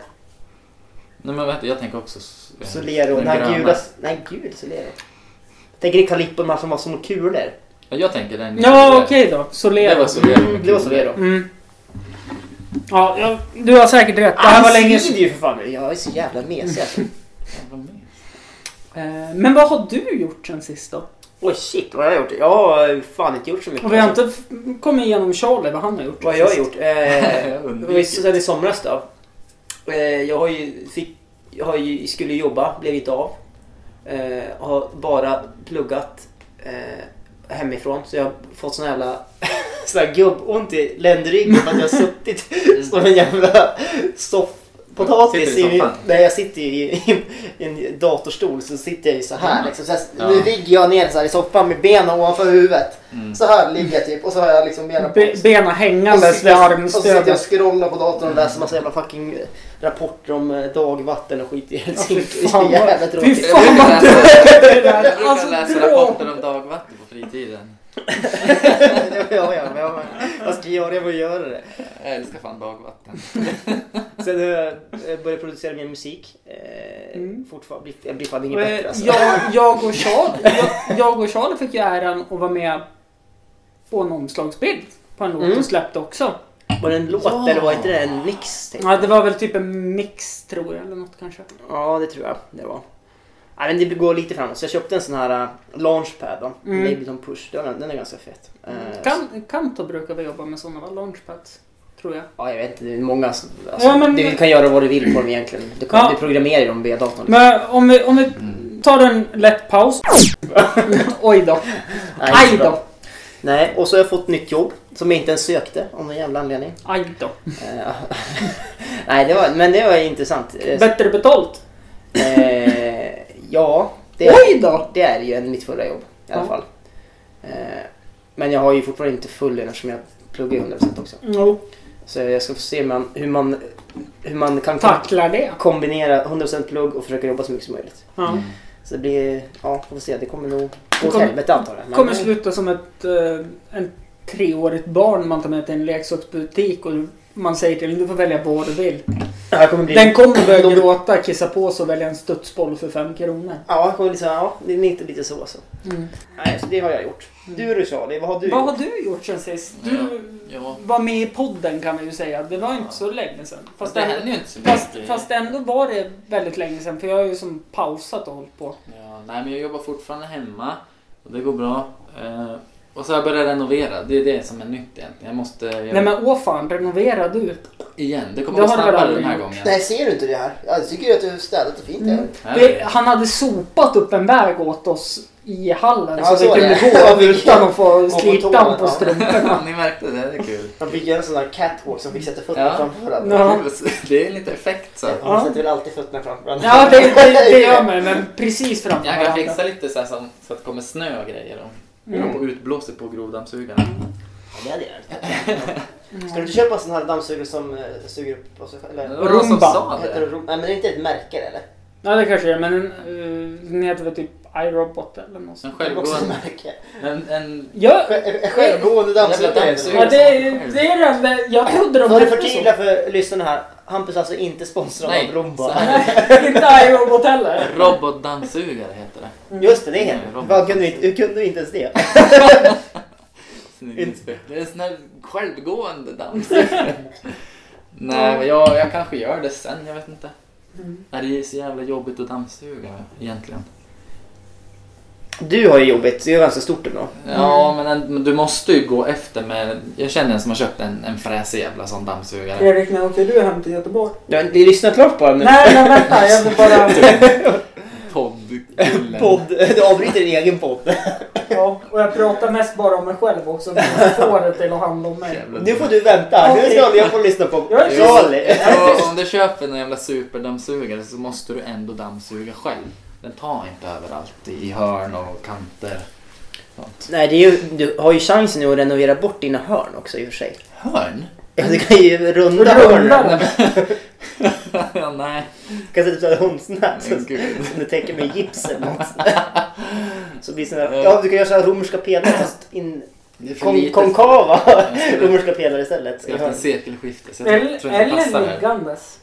S2: Nej men vänta, jag tänker också... s- eh,
S4: Solero, den här
S2: gröna.
S4: gula... Nej, gul Solero. Tänker ni Calippo, de här som var som kulor?
S2: Ja, Jag tänker den.
S3: Ja, okej då. Solero.
S2: Det var Solero.
S1: Mm, det var Solero.
S3: Mm. Ja, jag, du har säkert rätt. Alltså, Det här var länge
S1: svider ju för fan nu.
S5: Jag är så jävla mesig alltså.
S2: Jävla mes.
S3: Eh, Men vad har du gjort sen sist då?
S1: Oj shit, vad har jag gjort? Jag har eh, fan inte gjort så mycket.
S3: Och vi har inte f- kommit igenom Charlie, vad han har gjort.
S1: Vad har
S3: sen
S1: jag
S3: sist.
S1: gjort? Eh,
S2: *laughs*
S1: det
S2: Jag
S1: var ju
S2: undviker.
S1: så- sen i somras då. Eh, jag har ju, fick, jag har ju, skulle jobba, blev inte av. Eh, har bara pluggat eh, hemifrån så jag har fått sån jävla *laughs* sån här gubbont i ländryggen för att jag har
S2: *laughs*
S1: suttit som en jävla soffpotatis.
S2: Sitter du i
S1: i-
S2: soffan?
S1: Nej, jag sitter ju i, i, *laughs* en datorstol så sitter jag ju så här. Liksom. Så jag,
S2: Ja.
S1: Nu ligger jag ner så här i soffan med benen ovanför huvudet.
S2: Mm.
S1: Så här ligger jag typ och så har jag liksom benen på.
S3: Be- Bena
S1: Och så
S3: hängandes
S1: sitter
S3: vid
S1: jag- och så sitter jag
S3: *laughs* armstödet.
S1: och scrollar på datorn och läser massa jävla fucking eh, rapporter om eh, dagvatten och skit i Helsinki.
S3: fy fan
S1: det är jävla
S3: vad-
S1: tråkigt.
S3: fy fan vad
S2: Jag brukar läsa-
S3: Det där,
S2: Jag brukar
S3: alltså,
S2: läsa
S3: bra.
S2: rapporter om dagvatten på fritiden.
S1: *laughs* ja, ja, ja, ja. Vad ska jag göra? Jag får göra det.
S2: Jag älskar fan dagvatten.
S1: Sen har jag eh, börjat producera mer musik. Eh,
S3: Mm.
S1: Fortfarande, jag blir fan ingen bättre
S3: Eh,
S1: alltså.
S3: Jag, jag, och Charlie, jag, jag och Charlie fick ju äran att vara med på en omslagsbild på en låt
S1: Mm.
S3: och släppte också.
S1: Var det en låt
S2: Ja.
S1: eller var inte det en mix? Typ?
S3: Ja, det var väl typ en mix tror jag, eller något kanske.
S1: Ja, det tror jag det var. Nej, men det går lite framåt. Så jag köpte en sån här eh, launchpad då.
S3: Mm.
S1: Ableton Push. Den, den är ganska fet. Eh,
S3: Kan, Kanto brukar vi jobba med sådana, va? Launchpads. Tror jag.
S1: Ja, jag vet inte. Det är många som... Alltså,
S3: Ja, men-
S1: du kan göra vad du vill på dem egentligen. Du, kan,
S3: Ja.
S1: du programmerar ju dem via datorn.
S3: Men om vi, om vi tar en lätt paus. Oj då.
S1: Nej, inte
S3: Aj
S1: så bra.
S3: då.
S1: Nej, och så har jag fått nytt jobb som jag inte ens sökte av någon jävla anledning.
S3: Aj då.
S1: Eh, *laughs* Nej, det var, men det var intressant. Eh,
S3: Bättre betalt.
S1: eh, ja, det
S3: Oj då.
S1: det är ju än mitt förra jobb i alla
S3: Ja.
S1: fall. Eh, men jag har ju fortfarande inte full lön eftersom jag pluggar 100% också.
S3: Jo.
S1: Så jag ska få se hur man, hur man, hur man kan
S3: Tacklar det.
S1: kombinera 100% plugg och försöka jobba så mycket som möjligt.
S2: Mm.
S3: Ja.
S1: Så det blir, ja, får vi se. Det kommer nog gå åt
S3: kommer-
S1: helvete antar jag. Men-
S3: kommer sluta som ett eh, en treårigt barn man tar med till en leksaksbutik och man säger till den du får välja vad du vill.
S1: Ja, jag kommer bli...
S3: Den kommer börja
S1: de-
S3: gråta, kissa på sig och välja en studsboll för fem kronor.
S1: Ja, jag kommer bli så här, ja, det är inte lite så så.
S3: Mm.
S1: Nej, så det har jag gjort. Du du Charlie, vad har du
S3: Vad
S1: gjort?
S3: har du gjort sen sist?
S2: Ja.
S3: Du
S2: Ja.
S3: var med i podden kan vi ju säga. Det var inte så länge sedan. Fast,
S2: det
S3: ändå,
S2: händer ju inte så mycket.
S3: fast, fast ändå var det väldigt länge sedan för jag har ju som pausat och hållit på.
S2: Ja, nej, men jag jobbar fortfarande hemma och det går bra. Eh, och så har jag börjat renovera. Det är det som är nytt egentligen. Jag måste göra
S3: Nej men åh fan, renovera du.
S2: igen. Det kommer
S3: Det
S2: gå
S3: har du
S2: snabbare
S3: väl
S2: den
S3: aldrig
S2: här
S3: gjort?
S2: gången.
S5: Nej, ser du inte det här? Jag tycker att du har städat och fint
S3: Mm.
S5: här.
S2: Nej,
S3: Vi,
S2: *laughs*
S3: han hade sopat upp en väg åt oss i hallen
S5: Ja,
S3: så,
S5: så
S3: vi
S5: är
S3: kunde
S5: det.
S3: gå utan att få
S5: på
S3: slita
S5: toan,
S3: på
S5: ja.
S3: strumporna.
S2: *laughs* Ni märkte det, det är kul.
S5: Man fick göra en sån där catwalk som fick sätta fötterna
S2: Ja.
S5: framför varandra.
S3: Ja.
S2: *laughs* Det är lite effekt så.
S5: Man sätter väl alltid fötterna framför varandra.
S3: Ja, det, det, det
S5: *laughs*
S3: gör man men precis framför
S2: Jag kan
S3: varandra.
S2: fixa lite så, här som, så att det kommer snö och grejer. Och,
S3: Mm.
S2: och utblåsigt på grovdammsugaren.
S1: Ja, det hade jag gjort.
S5: Ska du inte köpa en sån här dammsugare som eh, suger upp av sig själv?
S2: Det
S5: Eller?
S2: var någon som
S3: Rumba.
S2: sa
S5: Heter
S2: det.
S5: det rom- Nej, men det är inte ett märke eller?
S3: Ja, det kanske det är, men en, eh, den heter väl typ iRobot eller något
S2: En
S3: sånt.
S5: Det är också ett
S2: *laughs*
S5: märke.
S2: självgående... En, en,
S3: Ja,
S5: Sj- en Självgående
S2: Jävla
S5: dammsugare.
S2: dammsugare.
S3: ja det, det är den där- Jag trodde de
S1: Får du
S3: hette så.
S1: förtydliga för lyssnarna här. Hampus är alltså inte sponsrad
S2: Nej,
S1: av
S2: så
S1: Rumba.
S2: här.
S3: Inte iRobot heller.
S2: robotdammsugare heter det.
S1: Mm. Just det, det är helt
S2: Nej, Rumba.
S1: Vad kunde du inte- Hur kunde du inte ens det?
S2: Snygg inspelning. Det är en sån här självgående dammsugare. *laughs* Nej, men jag, jag kanske gör det sen. Jag vet inte.
S3: Mm.
S2: Nej, Det är så jävla jobbigt att dammsuga egentligen.
S1: Du har ju jobbigt, det är ganska stort ändå.
S2: Ja, men, en, men du måste ju gå efter med... Jag känner en som har köpt en, en fräsig jävla sån dammsugare.
S3: Fredrik, när åker du hem till Göteborg?
S1: Du har inte lyssnat klart på den nu.
S3: Nej, men vänta. Jag vill bara...
S2: *laughs* Poddkillen.
S1: *laughs* Podd. Du avbryter din egen podd.
S3: Ja, och jag pratar mest bara om mig själv också. för Jag får det till att handla om mig.
S2: Jävla
S1: Nu får du vänta. Nu ska jag få lyssna på
S3: Jag är så-
S1: Charlie.
S2: Så om du köper en jävla superdammsugare så måste du ändå dammsuga själv. Den tar inte överallt i hörn och kanter. Sånt.
S1: Nej, det är ju, du har ju chansen nu att renovera bort dina hörn också i och för sig.
S2: Hörn? *laughs*
S1: Ja, du kan ju runda hörnen.
S3: Rundar
S2: Ja, nej.
S1: Du kan sätta upp ett hundsnät
S2: Men
S1: som
S2: gud.
S1: som du täcker med gips eller
S2: *laughs*
S1: något. Så blir det såna, ja, du kan göra så här romerska pelare fast in,
S2: Det är för
S1: kon,
S2: litet.
S1: konkava
S2: skulle-
S1: *laughs* romerska pelare istället.
S2: Jag har haft en cirkelskifte så jag tror-
S3: Eller,
S2: tror inte det passar
S3: eller
S2: här.
S3: liggandes.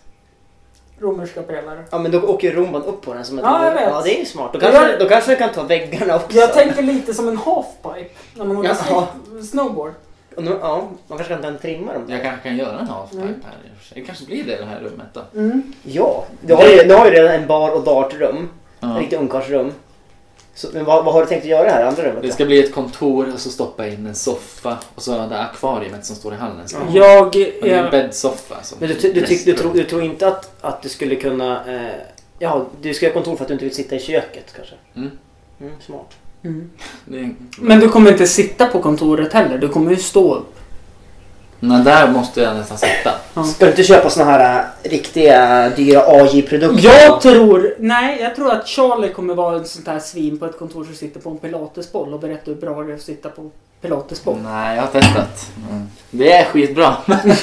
S3: Romerska pelare.
S1: Ja men då åker ju romban upp på den som ett
S3: Ja, jag vet.
S1: Ja det är ju smart. Då kanske, då kanske den kan ta väggarna också.
S3: Jag tänker lite som en halfpipe när man åker
S1: Jaha.
S3: sn- snowboard.
S1: Och nu, ja, man kanske kan trimma dem.
S2: Jag kanske kan göra en halfpipe
S3: Mm.
S2: här. i och för sig. Det kanske blir det i det här rummet då.
S3: Mm.
S1: Ja, du har, ju, du har ju redan en bar och dartrum.
S2: Ja.
S1: Ett riktigt ungkarlsrum. Så, men vad, vad har du tänkt att göra i det här andra rummet?
S2: Det
S1: då?
S2: ska bli ett kontor och så stoppa in en soffa och så det akvariet som står i hallen. Så.
S3: Jag
S2: Det är en
S3: är...
S2: bäddsoffa. alltså. som-
S4: Men du, ty- du, tyck, du, tror, du tror inte att, att du skulle kunna... Eh, ja, du ska ha kontor för att du inte vill sitta i köket kanske?
S2: Mm.
S4: Mm, smart.
S3: Mm.
S2: Det är-
S3: Men du kommer inte sitta på kontoret heller. Du kommer ju stå upp.
S2: Men där måste jag nästan sitta.
S3: Ja.
S1: Ska du inte köpa såna här äh, riktiga dyra AJ-produkter?
S3: Jag tror... Nej, jag tror att Charlie kommer vara en sån där svin på ett kontor som sitter på en pilatesboll och berättar hur bra det är att sitta på pilatesboll.
S2: Nej, jag har testat. Mm. Det är skitbra. Mm.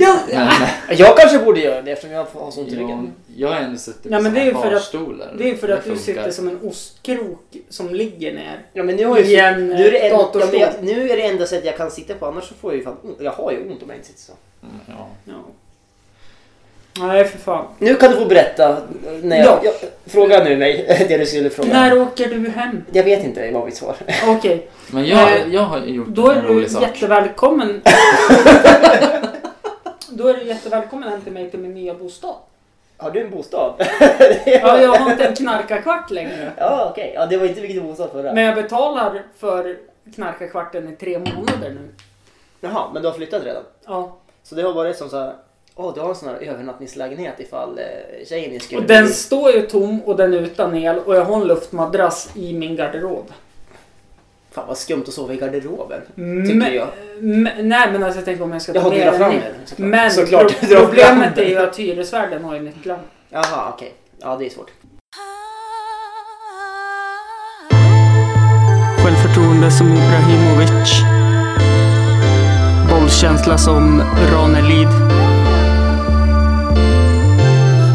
S3: Ja,
S2: Men,
S3: *laughs*
S1: Jag kanske borde göra det eftersom jag har sånt i
S2: jag,
S1: ryggen.
S2: jag har ändå suttit på
S3: Ja, men det är ju
S2: såna
S3: för att-
S2: barstolar.
S3: det är för att
S2: Det
S3: du
S2: funkar.
S3: sitter som en ostkrok som ligger ner.
S1: Ja, men nu, har jag ju,
S3: I en,
S1: nu, är det en, ja,
S3: datorstol.
S1: men jag, nu är det enda sättet jag kan sitta på annars så får jag ju fan ont. Jag har ju ont om jag inte sitter så.
S2: Mm, Ja.
S3: Ja. Nej, för fan.
S1: Nu kan du få berätta. eh, När jag,
S3: Ja.
S1: jag, fråga nu mig *laughs* det du skulle fråga.
S3: När åker du hem?
S1: Jag vet inte det var mitt svar.
S3: Okej,
S2: Men jag,
S3: Eh,
S2: jag har gjort
S3: då är
S2: en
S3: du
S2: rolig sak. *laughs*
S3: jättevälkommen. då är du jättevälkommen hem till mig till min nya bostad.
S1: Har du en bostad?
S3: Ja, jag har inte en knarkarkvart längre.
S1: *laughs* Ja okej, ja, det var inte vilken bostad förra.
S3: Men jag betalar för knarkarkvarten i tre månader nu.
S1: Jaha, men du har flyttat redan?
S3: Ja.
S1: Så det har varit som så här. Åh, du har en sån här övernattningslägenhet ifall eh, tjejen din skulle...
S3: Och den står ju tom och den är utan el och jag har en luftmadrass i min garderob.
S1: Fan vad skumt att sova i garderoben.
S3: Mm. Men-
S1: jag.
S3: men- nej men alltså jag tänker om jag ska
S1: Jaha, du la fram
S3: ner.
S1: den. såklart.
S3: Men
S1: såklart,
S3: *laughs* pro-
S1: du la fram
S3: problemet
S1: den.
S3: är ju att hyresvärden har ju nycklarna.
S1: Jaha, okej. Ja, det är svårt.
S3: Självförtroende som Ibrahimovic. Bollkänsla som Ranelid.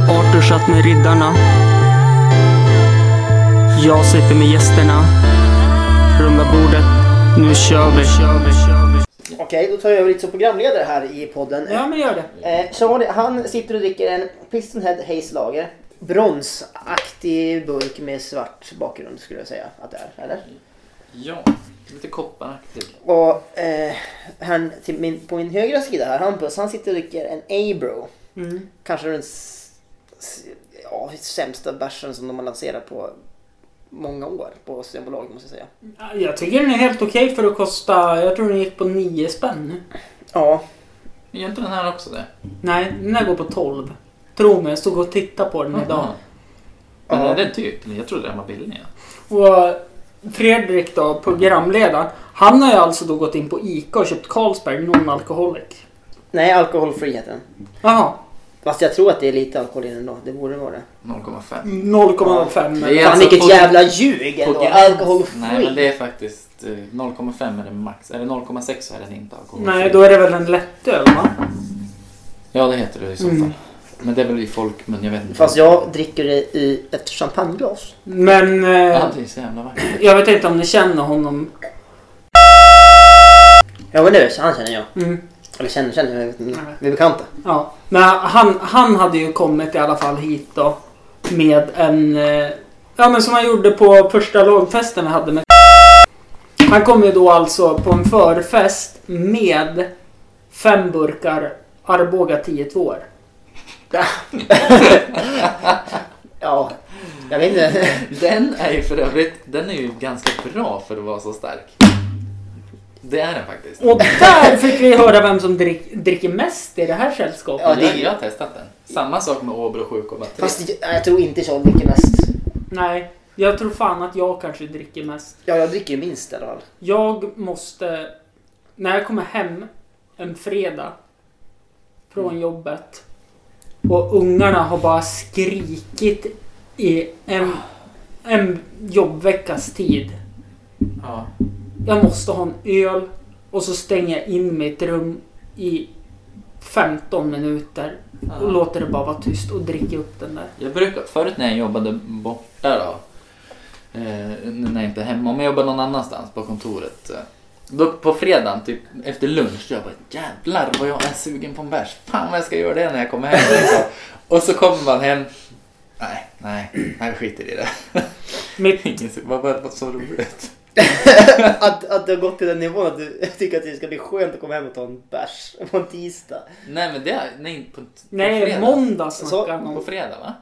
S3: Arthur satt med riddarna. Jag sitter med gästerna. Runda bordet. Nu kör vi.
S1: Okej, då tar jag över lite som programledare här i podden.
S3: Ja, men gör det.
S1: Eh, Charlie, han sitter och dricker en Piston Head Haze Lager. Bronsaktig burk med svart bakgrund skulle jag säga att det är, eller?
S2: Ja, lite kopparaktig.
S1: Och eh, han, till min, på min högra sida här, Hampus, han sitter och dricker en Abro.
S3: Mm.
S1: Kanske den s, s, ja, sämsta bärsen som de har lanserat på många år på Systembolaget måste jag säga.
S3: Jag tycker den är helt okej för att kosta... Jag tror den gick på 9 spänn nu.
S1: Ja,
S2: Gör inte den här också det?
S3: Nej, den där går på 12. Tro mig, jag stod och tittade på den idag.
S2: Men
S1: Ja.
S2: är den dyr? Jag trodde den var billig. ja.
S3: Och Fredrik då, programledaren, han har ju alltså då gått in på ICA och köpt Carlsberg Non-Alcoholic.
S1: nej alkoholfriheten.
S3: Jaha,
S1: Fast jag tror att det är lite alkohol i den då, det borde vara det.
S2: 0,5.
S3: 0,5.
S2: Det är
S1: Fan
S2: alltså
S1: vilket
S2: på-
S1: jävla ljug ändå!
S2: gränsen.
S1: Alkoholfri!
S2: Nej, men det är faktiskt eh, 0,5 är det max. Är det 0,6 så är den inte alkoholfri.
S3: Nej, då är det väl en lättöl va?
S2: Ja, det heter det i så fall.
S3: Mm.
S2: Men det är väl i folkmun, jag vet inte.
S1: Fast jag dricker det i ett champagneglas.
S3: Men eh,
S2: Ja, det är så jävla vackert.
S3: jag vet inte om ni känner honom.
S1: Ja men det är han känner jag.
S3: Mm,
S1: Eller känner, känner, jag vet inte.
S3: Nej.
S1: Vi är bekanta.
S3: ja. Men han, han hade ju kommit i alla fall hit då med en... Eh, ja men som han gjorde på första lågfesten vi hade med Han kom ju då alltså på en förfest med fem burkar Arboga 10 år.
S1: Ja, jag vet inte.
S2: Den är ju för övrigt, den är ju ganska bra för att vara så stark. Det är den faktiskt.
S3: Och där fick vi höra vem som drick, dricker mest i det här sällskapet.
S1: Ja, det är
S2: jag,
S1: ju-
S2: jag har testat den. Samma sak med Åbro sjuk och batteri.
S1: Fast jag, jag tror inte Sean dricker mest.
S3: Nej, jag tror fan att jag kanske dricker mest.
S1: Ja, jag dricker ju minst i alla fall.
S3: Jag måste... När jag kommer hem en fredag
S1: Mm.
S3: från jobbet och ungarna har bara skrikit i en, en jobbveckas tid.
S2: Ja.
S3: Jag måste ha en öl och så stänger jag in mitt rum i 15 minuter och låter det bara vara tyst och dricker upp den där.
S2: Jag brukar, förut när jag jobbade borta då, eh, nu när jag inte är hemma, om jag jobbade någon annanstans på kontoret, eh, Då på fredagen, typ efter lunch, jag bara jävlar vad jag är sugen på en bärs. Fan vad jag ska göra det när jag kommer hem. *laughs* Liksom. Och så kommer man hem. Nej, nej, nej vi skiter i det.
S1: *laughs*
S3: Mitt,
S2: Ingen su- Vad var det så roligt?
S1: Att, att det har gått till den nivån att du tycker att det ska bli skönt att komma hem och ta en bärs på en tisdag.
S2: Nej men det, nej på, på
S3: nej,
S2: fredag.
S3: måndag snackade
S1: Så-
S3: han
S2: På
S3: om.
S2: fredag va?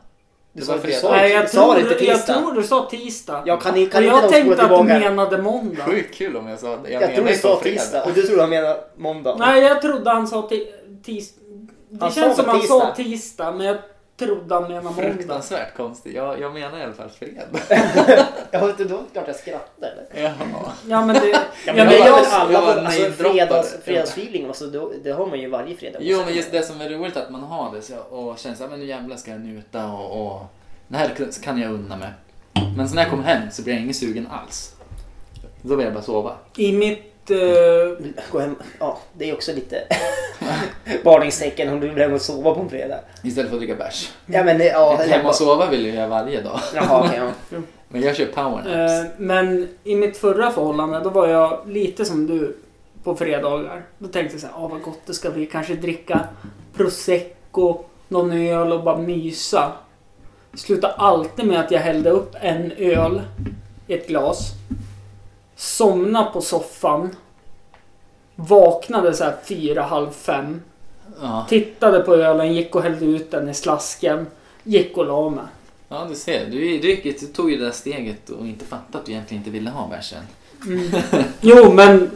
S1: Du
S2: Det
S1: sa-
S2: var
S1: du
S2: fredag.
S1: sa-
S3: Nej, jag,
S1: sa det
S3: tror,
S1: inte
S3: jag
S1: tisdag.
S3: tror du sa tisdag.
S1: Jag kan, kan
S3: och
S1: inte
S3: jag
S1: de spola
S3: tänkte att du
S1: tillbaka?
S3: menade måndag.
S2: Sjukt kul om jag sa det.
S1: Jag tror
S2: menar
S1: du
S2: ju på
S1: sa
S2: fredag.
S1: tisdag och du tror han menar måndag.
S3: Nej, jag trodde han sa tisdag. Det
S1: Han
S3: känns
S1: sa
S3: som han
S1: tisdag.
S3: sa tisdag, men jag trodde han menade måndag.
S2: Fruktansvärt konstigt. Jag, jag menar i alla fall *laughs* fredag.
S6: Jag vet inte, då är det klart jag skrattar eller?
S2: Jaha.
S3: Ja, men det... *laughs* ja, men
S2: men
S3: jag,
S2: jag-
S3: jag,
S2: jag var
S6: alltså,
S2: nejdroppare.
S6: fredags, fredagsfeeling, alltså, då- det har man ju varje fredag.
S2: Jo men just det som är roligt att man har det så, och känner såhär, men nu jävlar ska jag njuta och, och det här kun- kan jag unna mig. Men sen när jag kommer hem så blir jag ingen sugen alls. Då vill jag bara sova.
S3: I mitt... eh,
S1: Gå hem. Ja, det är också lite *laughs* varningstecken om du vill hem och sova på en fredag.
S2: Istället för att dricka bärs.
S1: Ja men ja, eller
S2: Hem
S1: bara-
S2: och sova vill jag göra varje dag.
S1: Jaha, okej. ja.
S2: Men jag kör powernaps.
S3: eh, men i mitt förra förhållande, då var jag lite som du på fredagar. Då tänkte jag så här, ah, vad gott det ska bli. Kanske dricka prosecco, någon öl och bara mysa. Sluta alltid med att jag hällde upp en öl i ett glas. Somna på soffan. Vaknade så här fyra, halv fem.
S2: Ja.
S3: Tittade på ölen, gick och hällde ut den i slasken. Gick och la mig.
S2: ja du ser, du, du, gick- du tog ju det där steget och inte fattade att du egentligen inte ville ha bärsen.
S3: Jo, men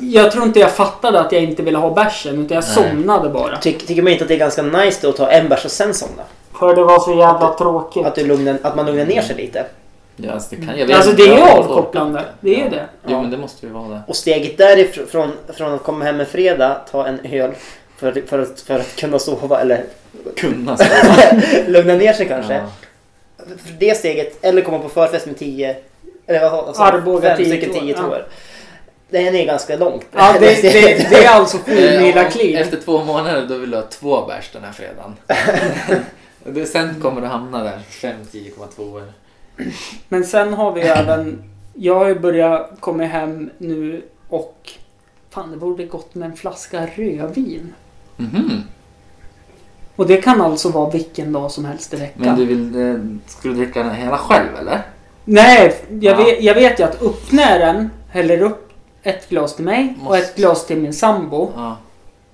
S3: jag tror inte jag fattade att jag inte ville ha bärsen utan jag
S2: Nej.
S3: somnade bara.
S1: Tyck, tycker man inte att det är ganska nice då att ta en bärs och sen somna?
S3: För det var så jävla tråkigt.
S1: Att, du lugnar, att man lugnar ner sig lite.
S2: Ja, alltså, det, kan, jag
S3: Mm.
S2: vet
S3: Alltså
S2: inte,
S3: det är ju
S2: jag har ju
S3: avkopplande.
S2: folk-
S3: Det är
S2: Ja. *laughs*
S3: det.
S2: Jo men det måste ju vara det.
S1: Och steget därifrån från, från att komma hem en fredag, ta en öl för, för, att, för att kunna sova eller *laughs*
S2: Kunna sova. *laughs*
S1: lugna ner sig kanske.
S2: Ja.
S1: För det steget, eller komma på förfest med tio, eller vad alltså,
S3: Arboga
S1: fem
S3: tio
S1: stycken
S3: tår,
S1: tio
S3: ja.
S1: tår. Den är ganska långt.
S3: Ja,
S1: *laughs*
S3: det, det, det
S2: *laughs*
S3: är alltså
S2: Eh,
S3: sju mila
S2: om-
S3: kliv.
S2: Efter två månader då vill du ha två bärs den här *laughs* fredagen. Det- Sen kommer du hamna där 5, 10,2 år.
S3: Men sen har vi ju även... Jag har ju börjat komma hem nu och... Fan, det vore gott med en flaska rödvin.
S2: Mhm.
S3: Och det kan alltså vara vilken dag som helst i veckan.
S2: Men du vill, eh, ska du dricka den hela själv eller?
S3: Nej, jag,
S2: Ja.
S3: vet, jag vet ju att uppnären häller upp ett glas till mig och
S2: Måste.
S3: ett glas till min sambo.
S2: Ja.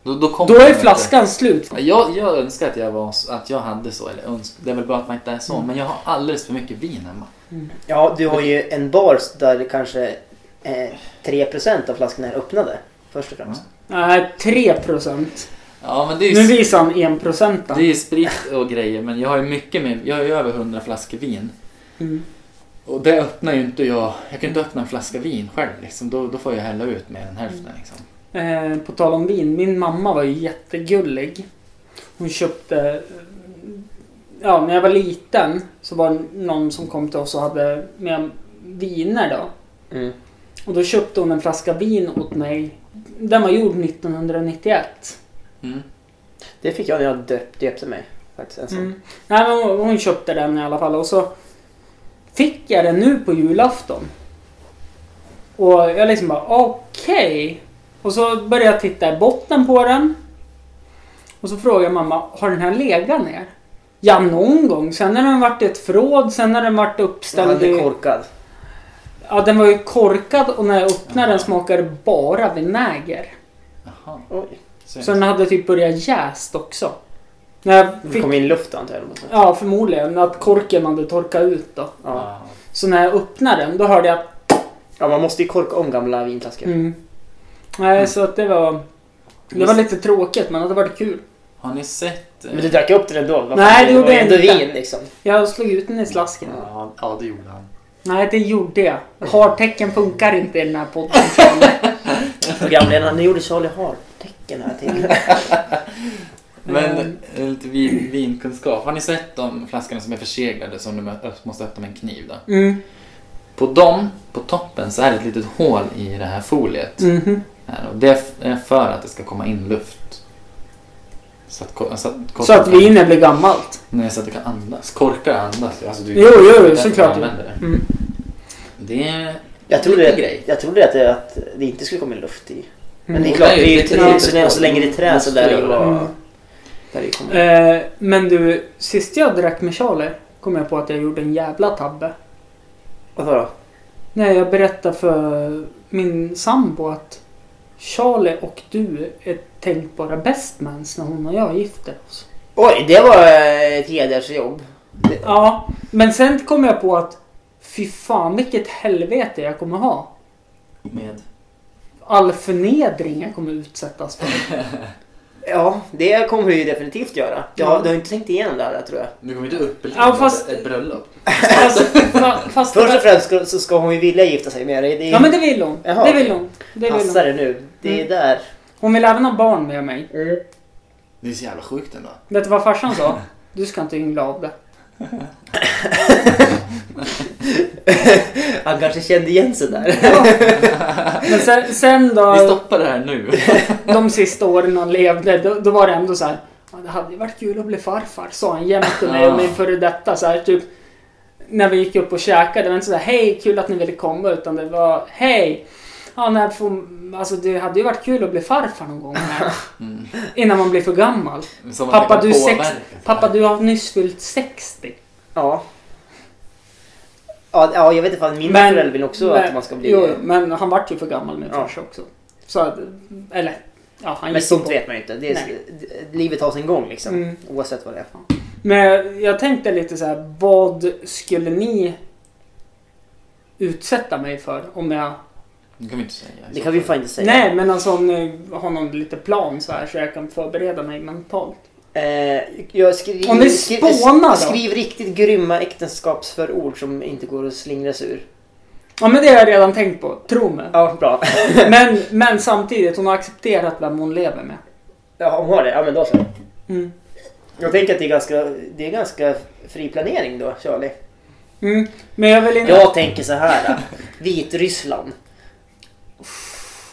S2: Då, då, kommer
S3: Då
S2: den
S3: är
S2: inte.
S3: flaskan slut.
S2: Jag, jag önskar att jag, var, så- att jag hade så, eller önsk, det är väl bra att man inte är så,
S3: Mm.
S2: men jag har alldeles för mycket vin hemma.
S1: Ja, du har ju en bar där kanske eh, 3% av flaskorna är öppnade. Först och främst.
S3: Nej, 3%.
S2: Ja men det är
S3: Nu
S2: ju,
S3: visar han 1%.
S2: det är ju sprit och grejer, men jag har ju mycket med, jag har ju över 100 flaskor vin.
S3: Mm.
S2: Och det öppnar ju inte jag. Jag kan inte öppna en flaska vin själv. Liksom. Då, då får jag hälla ut mer än hälften. Liksom.
S3: Eh, på tal om vin, min mamma var ju jättegullig. Hon köpte... eh, Ja, när jag var liten så var det någon som kom till oss och hade med viner då.
S1: Mm.
S3: Och då köpte hon en flaska vin åt mig. Den var gjord 1991.
S2: Mm.
S1: Det fick jag när jag döp, döpte mig. Faktiskt, en sån.
S3: Mm. Nej, men hon, hon köpte den i alla fall och så fick jag den nu på julafton. Och jag liksom bara okej. Och så började jag titta i botten på den. Och så frågade mamma, har den här legat ner? Ja, någon gång. Sen har den varit i ett förråd, sen har den varit
S1: Han
S3: uppställd
S1: är
S3: i...
S1: korkad.
S3: Ja, den var ju korkad och när jag öppnade den smakade det bara vinäger.
S2: Jaha.
S1: Oj.
S3: Så den hade typ börjat jäst också. När jag
S1: Det
S3: fick
S1: kom in luft antar jag. eller något sånt.
S3: Ja, förmodligen. Att korken hade torkat ut då.
S1: Ja.
S2: Ja.
S3: Så när jag öppnade den, då hörde jag att...
S1: ja, man måste ju korka om gamla vinflaskor.
S3: Mm. Nej, så att det var... Det var lite tråkigt, men det hade varit kul.
S2: Har ni sett? eh,
S1: Men du drack upp den ändå? Vad fan,
S3: Nej, det
S1: var
S3: gjorde
S1: ju
S3: jag
S1: ändå
S3: inte.
S1: vin liksom.
S3: Jag slog ut den i slasken.
S2: eh, Ja, ja, det gjorde han.
S3: Nej, det gjorde jag. Hartecken funkar inte i den här podden.
S1: Programledaren, nu gjorde Charlie Hart-tecken här
S3: *laughs*
S1: till.
S2: Men
S3: Mm.
S2: eh, lite vin, vinkunskap. Har ni sett de flaskorna som är förseglade som du mö- måste öppna med en kniv? Då?
S3: *laughs* Mm.
S2: På dem, på toppen, så är det ett litet hål i det här foliet.
S3: Mhm.
S2: Här, och det är för att det ska komma in luft. Så att, ko- så att,
S3: Så att vinet blir gammalt.
S2: Nej, så att det kan andas. Korkar andas. Alltså, du,
S3: Jo, jo,
S2: det är därför
S3: såklart.
S2: man använder det.
S3: Mm.
S2: Det är
S7: Jag
S2: liten
S7: trodde,
S2: grej.
S7: jag trodde att, det, att det inte skulle komma luft i. Men det är
S1: Mm.
S7: klart,
S2: Nej,
S7: det är ju
S2: det är
S7: trä,
S2: inte
S7: så, länge, så länge det är trä så
S1: Måste
S7: lär det
S1: göra.
S7: vara...
S3: Mm.
S1: Där det kommer.
S3: Eh, men du, sist jag drack med Charlie kom jag på att jag gjorde en jävla tabbe.
S1: Varför då?
S3: När jag berättade för min sambo att Charlie och du är tänkbara bestmans när hon och jag gifter oss.
S1: Oj, det var eh, ett hedersjobb.
S3: Ja, men sen kom jag på att fy fan vilket helvete jag kommer ha.
S2: Med.
S3: All förnedring jag kommer
S7: *laughs*
S3: utsättas för.
S1: Ja, det kommer du ju definitivt göra. Du har, du har inte tänkt igenom det här tror jag.
S2: Du kommer inte uppleva
S3: Ja, fast-
S2: ett bröllop.
S3: Alltså, fa- fast
S7: Först och främst ska, så ska hon ju vilja gifta sig med dig. Det är,
S3: Ja men det vill hon.
S7: Jaha.
S3: Det vill hon. Det vill
S7: passar
S3: hon.
S7: det nu. Det är
S3: Mm.
S7: där.
S3: hon vill även ha barn med mig.
S1: Mm.
S2: Det är så jävla sjukt ändå.
S3: Vet du vad farsan sa? Du ska inte yngla
S7: *laughs*
S3: av det.
S1: Han kanske kände igen sig där.
S3: Men sen, sen då...
S2: Vi stoppar det här nu. *laughs*
S3: de sista åren han levde, då, då var det ändå så här. Ja, det hade ju varit kul att bli farfar, sa han jämt till mig och min före detta. Så här, typ, när vi gick upp och käkade, det var inte så här, hej, kul att ni ville komma, utan det var, hej! Ja, när får, alltså, det hade ju varit kul att bli farfar någon gång. Här,
S2: Mm.
S3: innan man blir för gammal.
S2: Som att
S3: Pappa
S2: det
S3: du,
S2: kan
S3: är sex,
S2: påverka.
S3: pappa, du har nyss fyllt 60.
S1: Ja. Ja, ja jag vet inte fan. Mina
S3: Men-
S1: föräldrar vill också att
S3: Men-
S1: man ska bli...
S3: Jo, men han vart ju för gammal nu
S1: Ja.
S3: farsa också. Så, att- eller, ja, han
S1: men
S3: gick ju
S1: sånt
S3: bort.
S1: vet man ju inte. Det är,
S3: Nej.
S1: d- livet har sin gång liksom.
S3: Mm.
S1: Oavsett vad det är.
S3: Men jag tänkte lite så här, vad skulle ni utsätta mig för om jag...
S2: Det kan vi inte säga.
S7: Det kan vi fan inte säga.
S3: Nej, men alltså om ni har någon lite plan så här så jag kan förbereda mig mentalt.
S1: Eh, jag skri-
S3: Om ni
S1: skri-
S3: spånar då?
S1: Skriv riktigt grymma äktenskapsförord som inte går att slingra sig ur.
S3: Ja, men det har jag redan tänkt på. Tro mig.
S1: Ja, bra.
S3: Men, men samtidigt, hon har accepterat vem hon lever med.
S1: Ja, om har det? Ja, men då så.
S3: Mm.
S1: Jag tänker att det är ganska, det är ganska fri planering då, Charlie.
S3: Mm. Men jag vill inte...
S1: Jag tänker så här. då. Vitryssland.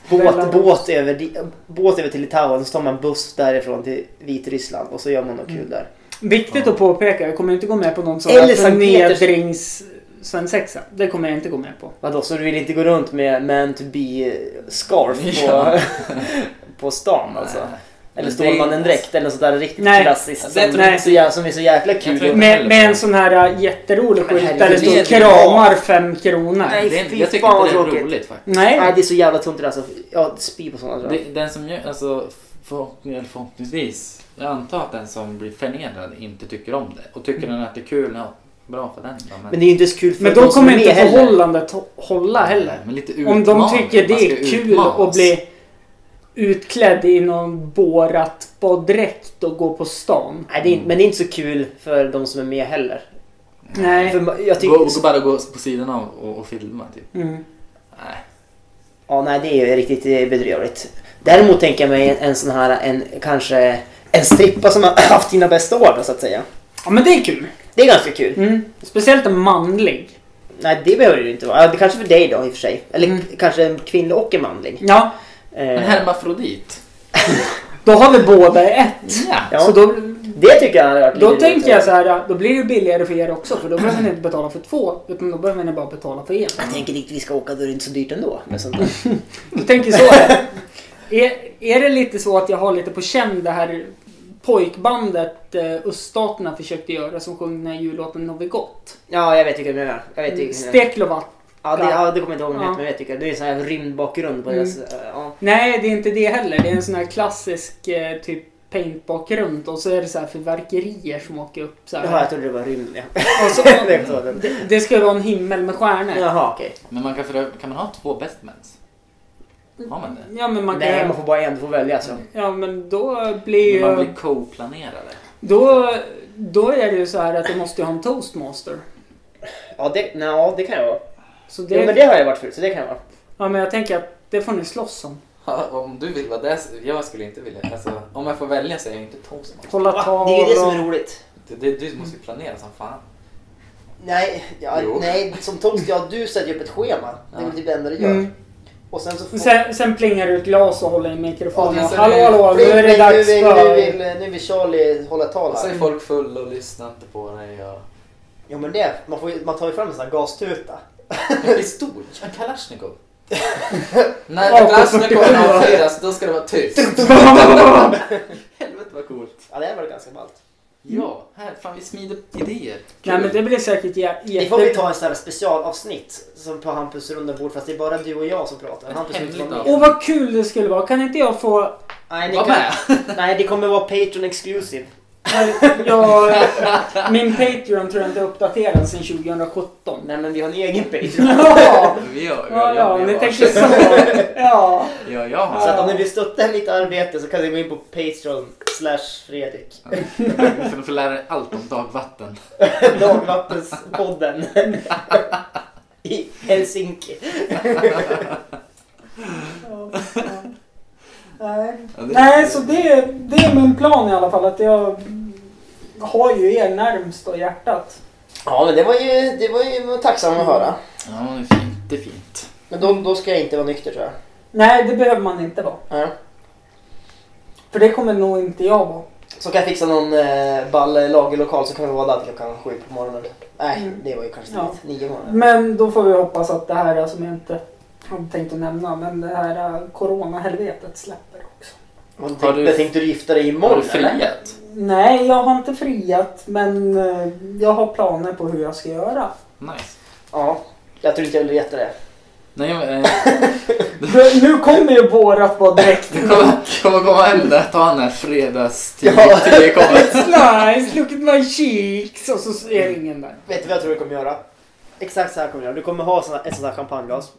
S1: Båt,
S3: Belarus.
S1: båt, över, di- båt över till Litauen, så tar man buss därifrån till Vitryssland och så gör man något
S3: Mm.
S1: kul där.
S3: Viktigt att påpeka, jag kommer inte gå med på någon sån
S1: Eller
S3: här
S1: Sankt Peters-
S3: förnedrings-svensexa. Det kommer jag inte gå med på.
S1: Vadå, så du vill inte gå runt med man to be-scarf på,
S2: Ja.
S1: *laughs* på stan
S2: Nej.
S1: alltså? Eller
S2: Men
S1: Stålmannen-dräkt eller något sånt där riktigt
S3: Nej.
S1: klassiskt
S2: Det
S1: som,
S2: tror
S3: jag-
S1: så jä- som är så jäkla kul.
S2: tror-
S3: Med, med en sån här äh, jätterolig
S1: Men
S3: skylt där det
S1: herregud,
S3: står
S2: det är bra.
S3: kramar fem kronor.
S1: Nej.
S2: Det är,
S1: fy
S2: jag tycker
S1: fan,
S2: inte det är
S1: vad tråkigt.
S2: roligt faktiskt.
S3: Nej.
S1: Nej, det är så jävla tunt det där, alltså. Jag spyr på sådana tror jag.
S2: Det, den som gör, alltså förhoppning, eller förhoppningsvis, jag antar att den som blir förnedrad inte tycker om det. Och tycker den att det är kul, ja, bra för den då.
S1: Men det är ju inte så kul för
S3: Men
S1: de
S3: då
S1: som
S3: kommer
S1: är
S3: inte
S1: med heller.
S3: förhållandet hå- hålla heller.
S2: Men lite
S3: Om de
S2: utmaning,
S3: tycker
S2: man
S3: det
S2: ska
S3: är kul
S2: utmanas.
S3: att bli utklädd i någon borat baddräkt och gå på stan.
S1: Nej, det är, inte- men det är inte så kul för de som är med heller. För
S3: Nej.
S1: ma- jag
S2: Gå, gå,
S1: tycker... liksom-
S2: bara gå på sidan av och, och filma typ.
S3: Mm.
S2: Nej.
S1: Ja, nej, det är ju riktigt eh, bedrövligt. Däremot tänker jag mig en, en sån här, en kanske... En strippa som har *clears throat* haft sina bästa år då, så att säga.
S3: Ja men det är kul.
S1: Det är ganska kul.
S3: Mm. Speciellt en manlig.
S1: Nej, det behöver det ju inte vara. Ja, Det kanske för dig då i och för sig. Eller
S3: Mm.
S1: k- kanske en kvinnlig och en manlig.
S3: Ja,
S2: Men
S1: Eh,
S2: hermafrodit.
S3: då har vi båda i ett.
S2: Ja.
S1: Ja.
S3: Så då,
S1: det tycker jag hade varit
S3: då
S1: lite-
S3: tänker jag så här, äh, då blir det billigare för er också för då behöver ni inte betala för två utan då behöver ni bara betala för en.
S1: Jag tänker dit vi ska åka, då är det inte så dyrt ändå. Men sånt där.
S3: Du
S1: *laughs*
S3: tänker så här. Är, är det lite så att jag har lite på känn det här pojkbandet eh, öststaterna försökte göra som sjöng den här jullåten Novigott?
S1: Ja, jag vet vilka du menar. Jag vet vilka du menar.
S3: Steklovat.
S1: Ja, det, ja, det kommer jag inte ihåg vad de
S3: Ja.
S1: heter, men jag vet vilka. Det är en sån här rymdbakgrund på
S3: Mm.
S1: deras... eh, Ja.
S3: Nej, det är inte det heller. Det är en sån här klassisk eh, typ paintbakgrund och så är det så här fyrverkerier som åker upp så
S1: Jaha, jag
S3: här.
S1: trodde det var rymden. ja. *laughs*
S3: Och så,
S1: Det är så den-
S3: det, det ska vara en himmel med stjärnor.
S1: Jaha, okej.
S2: Men man kan, för, kan man ha två bestmans? Har man det?
S3: Ja, men man kan...
S1: Nej, man får bara en. Du får välja så.
S3: Ja, men då blir
S2: Men man
S3: ju...
S2: blir co-planerare.
S3: Då, då är det ju så här att jag måste ju ha en toastmaster.
S1: Ja, det, nej, ja, det kan jag vara.
S3: Så det,
S1: Jo, men det har jag varit förut, så det kan jag vara.
S3: Ja, men jag tänker att det får ni slåss om.
S2: Ja, om du vill vara det, jag skulle inte vilja. Alltså, om jag får välja så är jag inte toastmaster.
S3: Hålla
S1: Va?
S3: tal
S1: Det är ju det som
S3: och...
S1: är roligt.
S2: Det, det, du måste ju planera som fan.
S7: Nej, ja,
S2: Jo.
S7: nej, som toast, ja du sätter ju upp ett schema. Det är väl typ det enda du gör.
S3: Mm.
S7: Och sen så får...
S3: Sen, sen plingar det ut glas och håller i mikrofonen.
S2: Ja, men sen
S3: hallå,
S2: är-
S3: hallå, nu
S7: Blink,
S3: är det
S7: blink,
S3: dags
S7: nu,
S3: för...
S7: vill, nu, vill, nu vill Charlie hålla ett tal
S2: Och så
S7: här.
S2: är folk fulla och lyssnar inte på dig. Och...
S7: Jo men det, man, får, ju- man tar ju fram en sån här gastuta.
S2: Pistol? En Kalashnikov? *laughs* När
S3: AK-47
S2: Kalashnikovn avfyras, då ska det vara tyst. Helvete vad coolt.
S1: Ja, det här var ganska ballt.
S2: Ja, här. Fan, vi smider idéer.
S3: *laughs* Nej men det blir säkert jä-
S1: Det får vi
S3: jätte...
S1: ta en sån här specialavsnitt som på Hampus runda bord fast det är bara du och jag som pratar.
S2: Ett
S1: Hampus vill inte vara
S2: hemligt
S1: med.
S3: Åh vad kul det skulle vara. Kan inte jag få...
S1: Nej, ni
S2: Var
S1: kan-
S2: med!
S1: *laughs* Nej, det kommer vara Patreon exclusive.
S3: eh, Jag, min Patreon tror jag inte är uppdaterad sedan 2017.
S1: Nej, men vi har en egen Patreon.
S3: Ja,
S2: Vi gör
S3: ja, ja, ni tänker
S2: varsin.
S3: så. Ja.
S2: *laughs* Ja, jag har. *laughs*
S1: Så att om ni vill stötta mitt arbete så kan ni gå in på Patreon slash Fredrik. *laughs*
S2: För de får lära dig allt om dagvatten.
S1: Dagvattenspodden. *laughs* I Helsinki.
S3: Ja, ja. Nej.
S2: Ja, det-
S3: Nej, så det, det är min plan i alla fall. Att jag har ju er närmst och hjärtat.
S1: Ja, men det var ju, det var ju tacksamt att höra.
S2: Ja, det är fint. Det är fint.
S1: Men då, då ska jag inte vara nykter tror jag.
S3: Nej, det behöver man inte vara.
S1: Ja.
S3: För det kommer nog inte jag vara.
S1: Så kan jag fixa någon eh, ball eh, lagerlokal så kan vi vara där till klockan sju på morgonen. Nej,
S3: Mm.
S1: det var ju kanske
S3: Ja.
S1: tidigt. Nio på morgonen.
S3: Men då får vi hoppas att det här eh, som jag inte hade tänkt att nämna, men det här eh, coronahelvetet släpper också.
S1: Vad
S2: Har
S1: tänkte,
S2: du-
S1: tänkte du gifta dig
S2: Har
S1: imorgon
S2: du friat?
S3: Nej, jag har inte friat, men eh, jag har planer på hur jag ska göra. *laughs*
S2: Nice.
S1: Ja, jag tror inte jag vill veta det.
S2: Nej, men, eh, *laughs*
S3: För Nu kommer ju vårat vara direkt.
S2: det kommer, kommer komma hem där. Ta den här
S3: *laughs*
S2: fredags tio,
S1: Ja.
S2: tio kommer.
S3: Nice, look at my cheeks! Och så är det ingen där.
S1: Vet du vad jag tror du kommer göra? Exakt så här kommer du göra. Du kommer ha såna, ett sånt här champagneglas.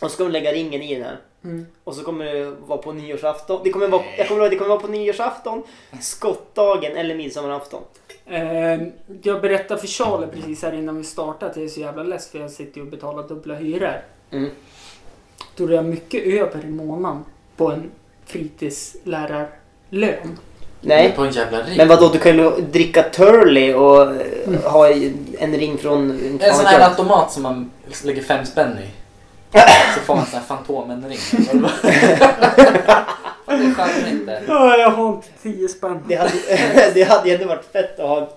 S1: Och så kommer du lägga ringen i den här.
S3: Mm.
S1: Och så kommer det vara på nyårsafton. Det kommer vara, jag kommer ihåg, det kommer vara på nyårsafton, skottdagen eller midsommarafton.
S3: Eh, jag berättade för Charlie precis här innan vi startade att jag är så jävla less för jag sitter ju och betalar dubbla hyror.
S1: Mm.
S3: Då är jag mycket över i månaden på en fritidslärarlön.
S1: Nej.
S2: På en jävla ring.
S1: Men vadå, du kan ju dricka Turley och eh, ha i- en ring från...
S2: En sån här automat som man liksom lägger fem spänn
S3: *laughs*
S2: i. Så får man en sån här Fantomen-ring. *laughs* det är charmigt där.
S3: Ja, jag har inte tio spänn.
S1: Det hade, det hade *laughs* ju ändå varit fett att ha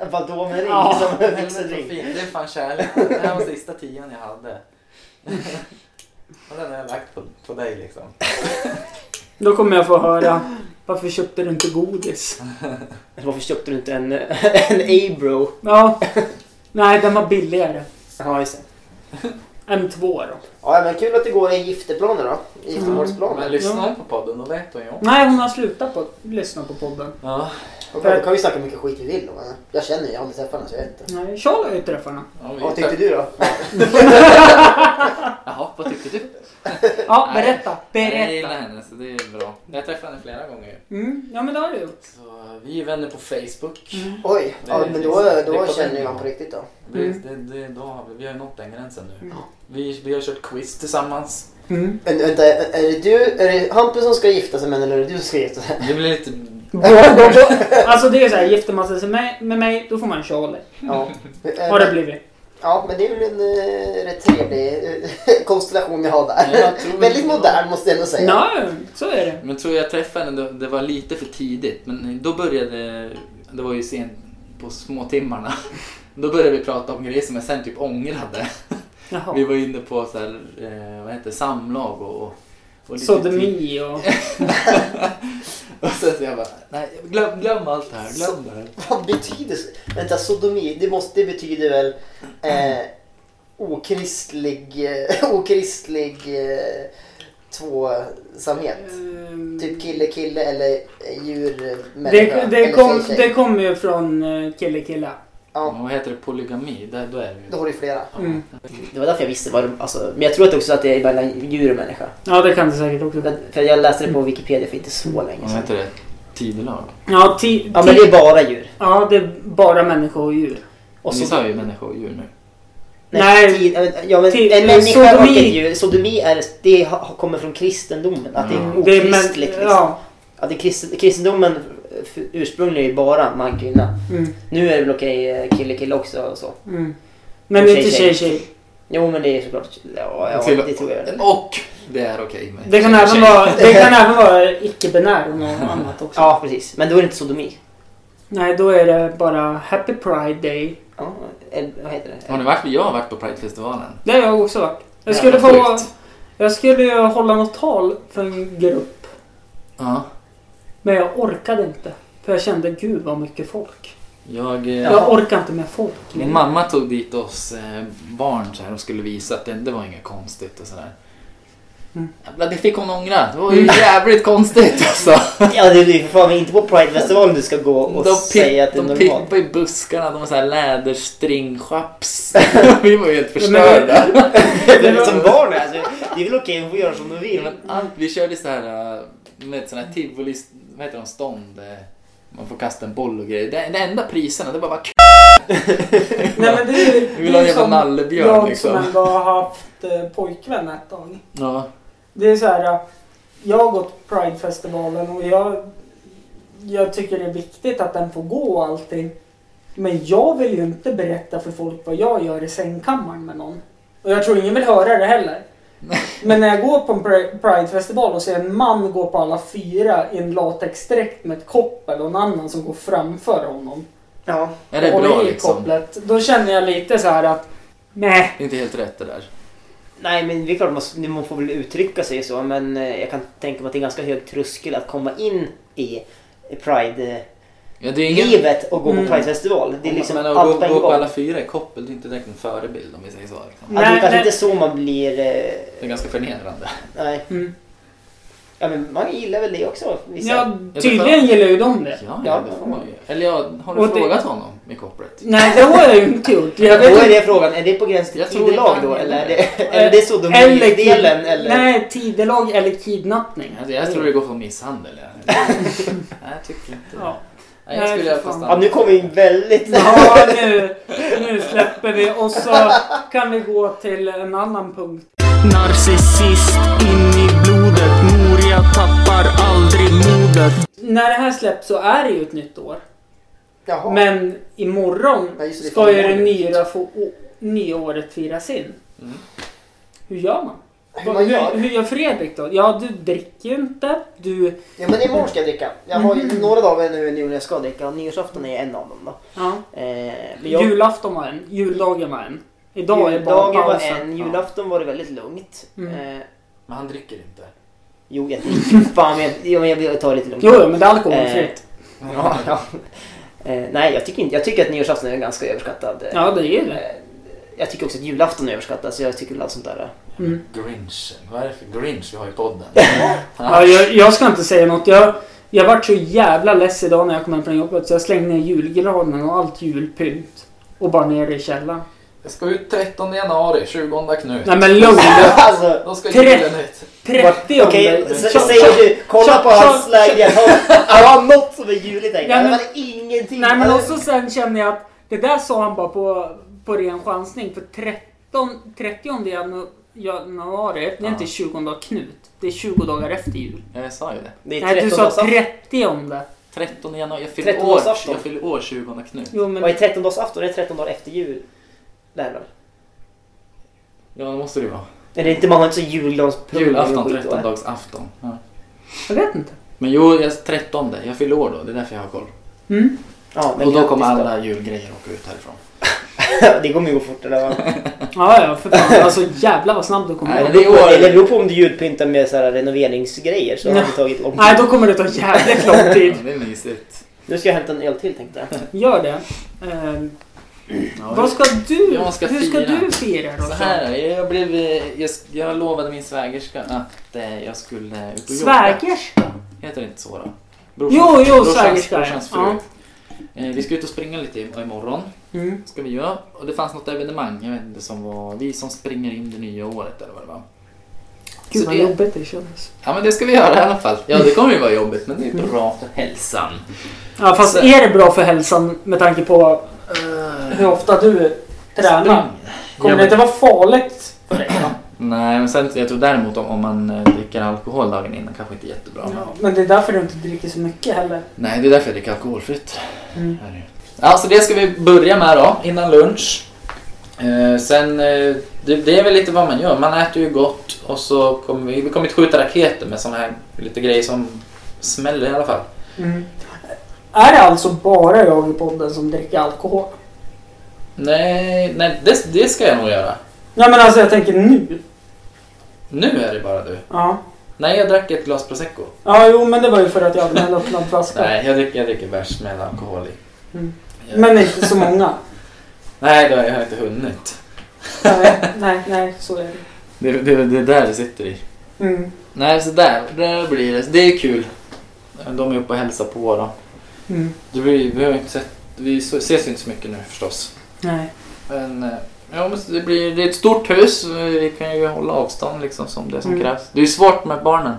S1: en Fantomen-ring
S3: Ja,
S1: som en
S2: Helvete vad
S1: vigselring.
S2: fint. Det är fan kärlek.
S1: *laughs*
S2: Det här var sista tian jag hade. *laughs* Och den har jag lagt på, på dig liksom.
S3: Då kommer jag få höra varför köpte du inte godis?
S1: Varför köpte du inte en, *laughs* en A-bro?
S3: Ja, nej den var billigare.
S1: Ja, just det.
S3: M2 då.
S1: Ja, men kul att det går i gifterplaner då. I Giftermålsplaner.
S2: Men lyssnar hon på podden då vet hon ju om.
S3: Nej, hon har slutat på, lyssna på podden.
S2: Ja,
S1: Och då kan vi snacka hur mycket skit vi vill om henne. Jag känner ju, jag har inte träffat henne så jag vet inte.
S3: Nej, Charlie har ju träffat henne.
S2: ja,
S1: Vad
S2: vi
S1: tyckte du då?
S2: Jaha, vad tyckte du?
S3: Ja,
S2: Nej.
S3: berätta.
S2: Jag
S3: Berätta.
S2: gillar henne så det är bra. Jag träffade henne flera gånger.
S3: Mm, ja, men det har du gjort.
S2: Så vi är vänner på Facebook.
S1: Oj, ja, men då,
S2: Det
S1: då
S2: kommer
S1: känner
S2: in.
S1: jag honom på riktigt då.
S2: Det, det, det, då har vi, vi har ju nått den gränsen nu. Vi, vi har kört quiz tillsammans.
S3: Mm.
S1: Men vänta, är det du, är det Hampus som ska gifta sig med henne eller är det du som ska gifta sig?
S2: Det
S1: *laughs*
S2: blir lite...
S1: Äh,
S3: *laughs* Alltså det är så här, gifter man sig med, med mig, då får man Charlie.
S1: *laughs* Ja. Äh,
S3: Har det blivit.
S1: Ja, men det är väl en eh, rätt trevlig eh, *laughs* konstellation vi har
S2: Ja,
S1: där.
S2: jag tror
S1: Väldigt
S2: det.
S1: modern måste jag ändå säga.
S3: Nej, så är det.
S2: Men tror jag träffade henne, det, det var lite för tidigt. Men då började... Det var ju sent på småtimmarna. *laughs* Då började vi prata om grejer som jag sen typ ångrade. Vi
S3: Jaha.
S2: var inne på så här, eh, vad heter det, samlag och... och, och lite typ- tid. *laughs*
S3: Sodomi och...
S1: *laughs*
S2: Och sen så jag bara, nej glöm, glöm allt det här, glöm det här.
S1: Vad betyder Vänta, sodomi, det, måste, det betyder väl eh, okristlig, eh, *laughs* okristlig eh, tvåsamhet?
S3: Ehm,
S1: Typ kille, kille eller eh, djur, eh, människa
S3: Det, det,
S1: eller
S3: kom,
S1: tjej, tjej.
S3: det kommer ju från eh, kille kille.
S1: Ja,
S2: Vad heter det, polygami? Där, då är det ju...
S1: då har du flera.
S3: Mm.
S1: Det var därför jag visste vad det alltså, Men jag tror att också att det är mellan djur och människa.
S3: Ja, det kan det säkert också vara.
S1: För jag läste det på Wikipedia för inte så länge
S2: Vad
S1: sedan.
S2: heter det? Tidelag?
S3: Ja, ti, ti,
S1: Ja, men det är bara djur.
S3: ja, det är bara människa och djur.
S1: Och
S2: Ni
S1: så,
S2: sa ju människa och djur nu.
S1: nej,
S3: Nej.
S1: tid, eh, ja, men
S3: Tid-
S1: en
S3: men
S1: människa och
S3: sodomi-
S1: ett djur. Sodomi är, det ha- har- kommer från kristendomen. Att det är
S2: Mm.
S3: Det är
S1: okristligt. liksom.
S3: Ja.
S1: att det är kristen, kristendomen eh, f- ursprungligen är ju bara man kvinna.
S3: Mm,
S1: Nu är det väl okej eh, kille kille också och så.
S3: mm. Men
S1: Och
S3: inte
S1: tjej,
S3: tjej
S1: tjej.
S3: tjej.
S1: Jo men det är såklart. Ja, ja
S2: Till-
S1: det tror jag. väl.
S2: Och det är okej med
S3: Det kan,
S2: tjej-
S3: även
S2: tjej.
S1: *laughs*
S3: vara, det kan även vara icke-binär och något annat också.
S1: Ja precis. Men då är det inte sodomi.
S3: Nej, då är det bara Happy Pride Day.
S1: Ja,
S4: El, vad heter det?
S2: Har ni varit? Jag har varit på Pridefestivalen.
S3: Det har jag också varit. Jag
S2: Jävla
S3: skulle, få,
S2: sjukt.
S3: jag skulle ju hålla något tal för en grupp.
S2: Ja.
S3: Men jag orkade inte. För jag kände gud vad mycket folk.
S2: Jag, eh,
S3: Jag orkar inte med folk
S2: Min
S3: längre.
S2: mamma tog dit oss eh, barn så här och skulle visa att det, det var inget konstigt och sådär.
S3: Mm.
S2: Jävlar, det fick hon ångra. Det var ju jävligt konstigt *laughs* alltså.
S1: Ja, det är ju för fan inte på Pridefestivalen du ska gå och
S2: De,
S1: säga att det är
S2: de
S1: normalt.
S2: pippade i buskarna, de var såhär
S3: *laughs*
S2: läderstringchaps. Vi var ju helt
S3: Men- men-
S2: förstörda.
S1: Det är *laughs* som barn alltså. Det är väl okej, hon får göra som hon vill.
S2: Men allt, vi körde så här, eh, med sån här tivoli, vad heter de, stånd. eh, Man får kasta en boll och grejer. Det, det enda priserna, det bara var
S3: Nej, men det, är- det är
S2: Vi vill ha en
S3: ju
S2: jävla
S3: som
S2: nallebjörn,
S3: Jag
S2: liksom.
S3: som ändå har haft eh, pojkvän ett tag.
S2: Ja.
S3: Det är så här. Jag har gått Pridefestivalen och jag, jag tycker det är viktigt att den får gå och allting. Men jag vill ju inte berätta för folk vad jag gör i sängkammaren med någon. Och jag tror ingen vill höra det heller. Men när jag går på en pri- Pridefestival och ser en man gå på alla fyra i en latexdräkt med ett koppel och en annan som går framför honom.
S1: Ja.
S2: Är det
S3: och
S2: bra
S3: i
S2: liksom?
S3: kopplet. Då känner jag lite så här att nej.
S2: Det är inte helt rätt det där.
S1: Nej, men det är klart man, s- man får väl uttrycka sig så. Men eh, jag kan tänka mig att det är en ganska hög tröskel att komma in i Pride-livet
S2: Ja, det är ingen,
S1: och gå
S3: Mm.
S1: på Pridefestival. Det är liksom
S2: men
S1: allt på
S2: att gå,
S1: en
S2: gå på alla
S1: gång.
S2: fyra i koppel, det är inte direkt en förebild om vi säger så. Liksom.
S1: Ja, det är
S3: Nej,
S1: kanske
S3: nej.
S1: inte så man blir... eh,
S2: Det är ganska förnedrande.
S1: Nej.
S3: Mm.
S1: Ja, men man gillar väl det också. Vissa.
S3: Ja,
S2: Jag
S3: tydligen gillar ju de det.
S2: Ja,
S1: Ja.
S2: ja. det får man ju. Eller ja, har du
S3: Och det-
S2: frågat honom i kopplet?
S3: Nej, det har jag ju inte gjort. Jag
S1: då
S3: vet
S1: är
S3: inte-
S1: det frågan, är det på gränsen till
S2: Jag tror inte
S1: tidelag
S2: han
S1: då?
S2: menar
S1: Eller är
S2: det.
S1: det, eller det är så de
S3: Eller kid-
S1: delen? Eller?
S3: Nej, tidelag eller kidnappning.
S2: Alltså, Jag, jag tror det går för misshandel.
S1: *laughs*
S2: Ja. Nej, jag tycker inte det.
S3: Ja.
S2: Nej, jag skulle i alla fall
S3: Nej, för
S2: stanna.
S1: Ja, nu kommer vi in väldigt...
S3: Ja, nu, nu släpper vi och så kan vi gå till en annan punkt.
S8: Narcissist in i blodet, mor jag tappar aldrig modet
S3: När det här släpps så är det ju ett nytt år.
S1: Jaha.
S3: Men imorgon
S1: Ja, just det, det är
S3: ska ju det
S1: imorgon.
S3: nya, få, å- nya året firas in.
S2: Mm.
S3: Hur gör man?
S1: Hur man gör?
S3: hur, hur gör Fredrik då? Ja, du dricker ju inte. Du...
S1: Ja, men imorgon ska jag dricka. Jag har
S3: Mm.
S1: ju några dagar nu nu när jag ska dricka och nyårsafton är en av dem då.
S3: Ja.
S1: Eh, men jag-
S3: Julafton var en, juldagen var en. Idag är bara
S1: Juldagen var
S3: pausen.
S1: en, julafton var det väldigt lugnt.
S3: Mm.
S1: Eh,
S2: Men han dricker inte.
S1: jo, jag dricker *laughs* fan men jag, jo, men jag vill ta det lite lugnt.
S3: Jo, jo, men det är
S1: Eh,
S3: alkoholfritt.
S1: Ja, ja. Eh, nej, jag tycker, inte, jag tycker att nyårsafton är ganska överskattad. Eh,
S3: Ja, det är ju det.
S1: eh, jag tycker också att julafton är överskattad så jag tycker väl allt sånt
S3: *laughs*
S1: där.
S3: Mm.
S2: Grinch. Vad är det för Grinch vi har i podden?
S3: Ja, jag, jag ska inte säga något. Jag, jag vart så jävla less idag när jag kom hem från jobbet så jag slängde ner julgranen och allt julpynt. Och bara ner i källaren.
S2: Jag ska ut 13 januari, 20 Knut.
S3: Nej men
S1: *laughs*
S3: lugn!
S1: alltså,
S2: Då ska
S3: Träff.
S2: julen ut.
S3: 30
S1: Okej,
S3: okay,
S1: sä- säger du, kolla
S3: tja,
S1: på
S3: tja,
S1: hans läge.
S3: *laughs*
S1: Han- Han har något som är juligt här.
S3: Ja,
S1: Han
S3: men-
S1: har ingenting.
S3: Nej men
S1: Han-
S3: också sen känner jag att det där sa han bara på, på ren chansning. För 13, 30 janu- januari, det är
S2: Ja.
S3: inte 20 dagar Knut. Det är 20 dagar efter jul.
S2: Jag sa ju det.
S1: Det är
S3: Nej du
S1: 13
S3: sa
S1: dags
S3: 30.
S2: 13 januari. Jag fyller år,
S1: 13-årsafton.
S2: jag fyller år 20 Knut.
S3: Jo
S1: Vad är
S3: men
S1: 13 dagsafton? Det är 13 dagar efter jul. Lär väl?
S2: Ja, det måste det vara.
S1: Är det inte man har inte så julgransprov?
S2: Julafton, 13 dagsafton. Ja.
S3: jag vet inte.
S2: Men jo, jag, 13. Jag fyller år då. Det är därför jag har koll.
S3: Mm.
S1: Ja, men
S2: Och då
S1: grattis
S2: kommer alla julgrejer åka ut härifrån.
S1: det kommer ju gå fortare. va?
S3: Ja ja för fan alltså jävla vad snabbt du kommer
S2: Nej,
S3: ihåg.
S2: det är år.
S1: Eller det beror på om du julpyntar med så här renoveringsgrejer så har det tagit lång
S3: Nej,
S1: tid.
S3: då kommer det ta jävligt lång tid.
S2: Ja, det är mysigt.
S1: Nu ska jag hämta en öl till
S2: *laughs*
S1: tänkte jag.
S3: Gör det. Eh,
S2: Ja,
S3: vad ska du,
S2: Jag ska
S3: hur ska
S2: fira.
S3: du fira då?
S2: Så här, jag, blev, eh, jag, jag lovade min svägerska att eh, jag skulle ut och jobba.
S3: Svägerska?
S2: Heter det inte så då?
S3: Jo, jo,
S2: brorsans-
S3: svägerska.
S2: brorsans fru.
S3: Ja.
S2: Eh, vi ska ut och springa lite im- imorgon.
S3: Mm.
S2: Ska vi göra. Och det fanns något evenemang, jag vet inte, som var vi som springer in det nya året eller vad det var.
S3: Gud
S2: Så
S3: vad
S2: det-
S3: jobbigt det kändes.
S2: Ja men det ska vi göra i alla fall. Ja det kommer ju vara jobbigt men det är bra för hälsan.
S3: Ja, fast
S2: Så-
S3: är det bra för hälsan med tanke på hur ofta du
S2: Alltså,
S3: tränar? Kommer det inte vara farligt?
S2: Nej men sen jag tror däremot om, om man eh, dricker alkohol dagen innan kanske inte är jättebra. men-
S3: Men det är därför du inte dricker så mycket heller.
S2: Nej det är därför jag dricker alkoholfritt.
S3: Mm.
S2: Här är det. Ja så det ska vi börja med då innan lunch. Eh, sen eh, det, det är väl lite vad man gör. Man äter ju gott och så kommer vi, vi kommer inte skjuta raketer med såna här lite grejer som smäller i alla fall. Mm.
S3: Är det alltså bara jag i podden som dricker alkohol?
S2: Nej, nej det, det ska jag nog göra.
S3: Ja men alltså jag tänker nu.
S2: Nu är det bara du.
S3: Ja.
S2: Nej, jag drack ett glas prosecco.
S3: Ja jo men det var ju för att jag hade en öppnad flaska.
S2: Nej, jag dricker, jag dricker bärs med alkohol i.
S3: Mm.
S2: Jag,
S3: Men inte så många.
S2: Nej, det har jag inte hunnit.
S3: Nej, nej, nej så är det.
S2: Det, det, det är där det sitter i.
S3: Mm.
S2: Nej, så där, där blir det. Det är kul. De är uppe och hälsar på då.
S3: Mm.
S2: Det blir, vi har ju inte sett, vi så- ses ju inte så mycket nu förstås.
S3: Nej.
S2: Men eh, ja, men det, blir, det är ett stort hus. Vi kan ju hålla avstånd liksom som det som
S3: Mm.
S2: krävs. Det är ju svårt med barnen.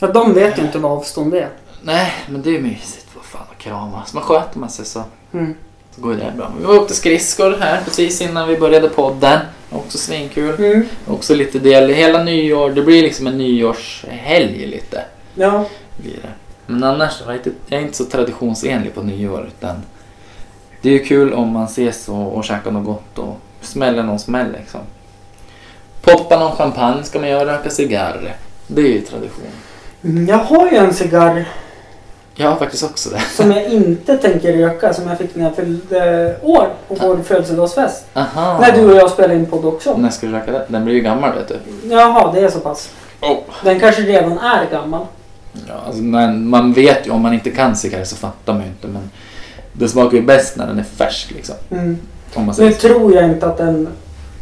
S3: Ja, de vet ju inte vad avstånd är.
S2: Nej, men det är ju mysigt. Vad fan att kramas. Man sköter man sig så,
S3: Mm.
S2: så går det bra. Men Vi var uppe till skridskor här precis innan vi började podden. Också svinkul.
S3: Mm.
S2: Också lite del. Hela nyår. Det blir liksom en nyårshelg lite.
S3: Ja.
S2: blir det. Men annars, jag är inte- jag är inte så traditionsenlig på nyår. Utan det är ju kul om man ses och, och käkar något gott och smäller någon smäll liksom. Poppa någon champagne ska man göra, röka cigarrer. Det är ju tradition.
S3: Mm, Jag har ju en cigarr
S2: Jag har faktiskt också det.
S3: som jag inte tänker röka som jag fick när jag fyllde år på vår födelsedagsfest.
S2: Aha.
S3: När du och jag spelade in podd också.
S2: När ska du röka den? Den blir ju gammal vet du.
S3: Jaha, det är så pass.
S2: Oh.
S3: Den kanske redan är gammal.
S2: Ja, alltså, men man vet ju, om man inte kan cigarrer så fattar man ju inte. Men det smakar ju bäst när den är färsk liksom.
S3: Mm.
S2: Om man
S3: Nu
S2: säger så.
S3: tror jag inte att den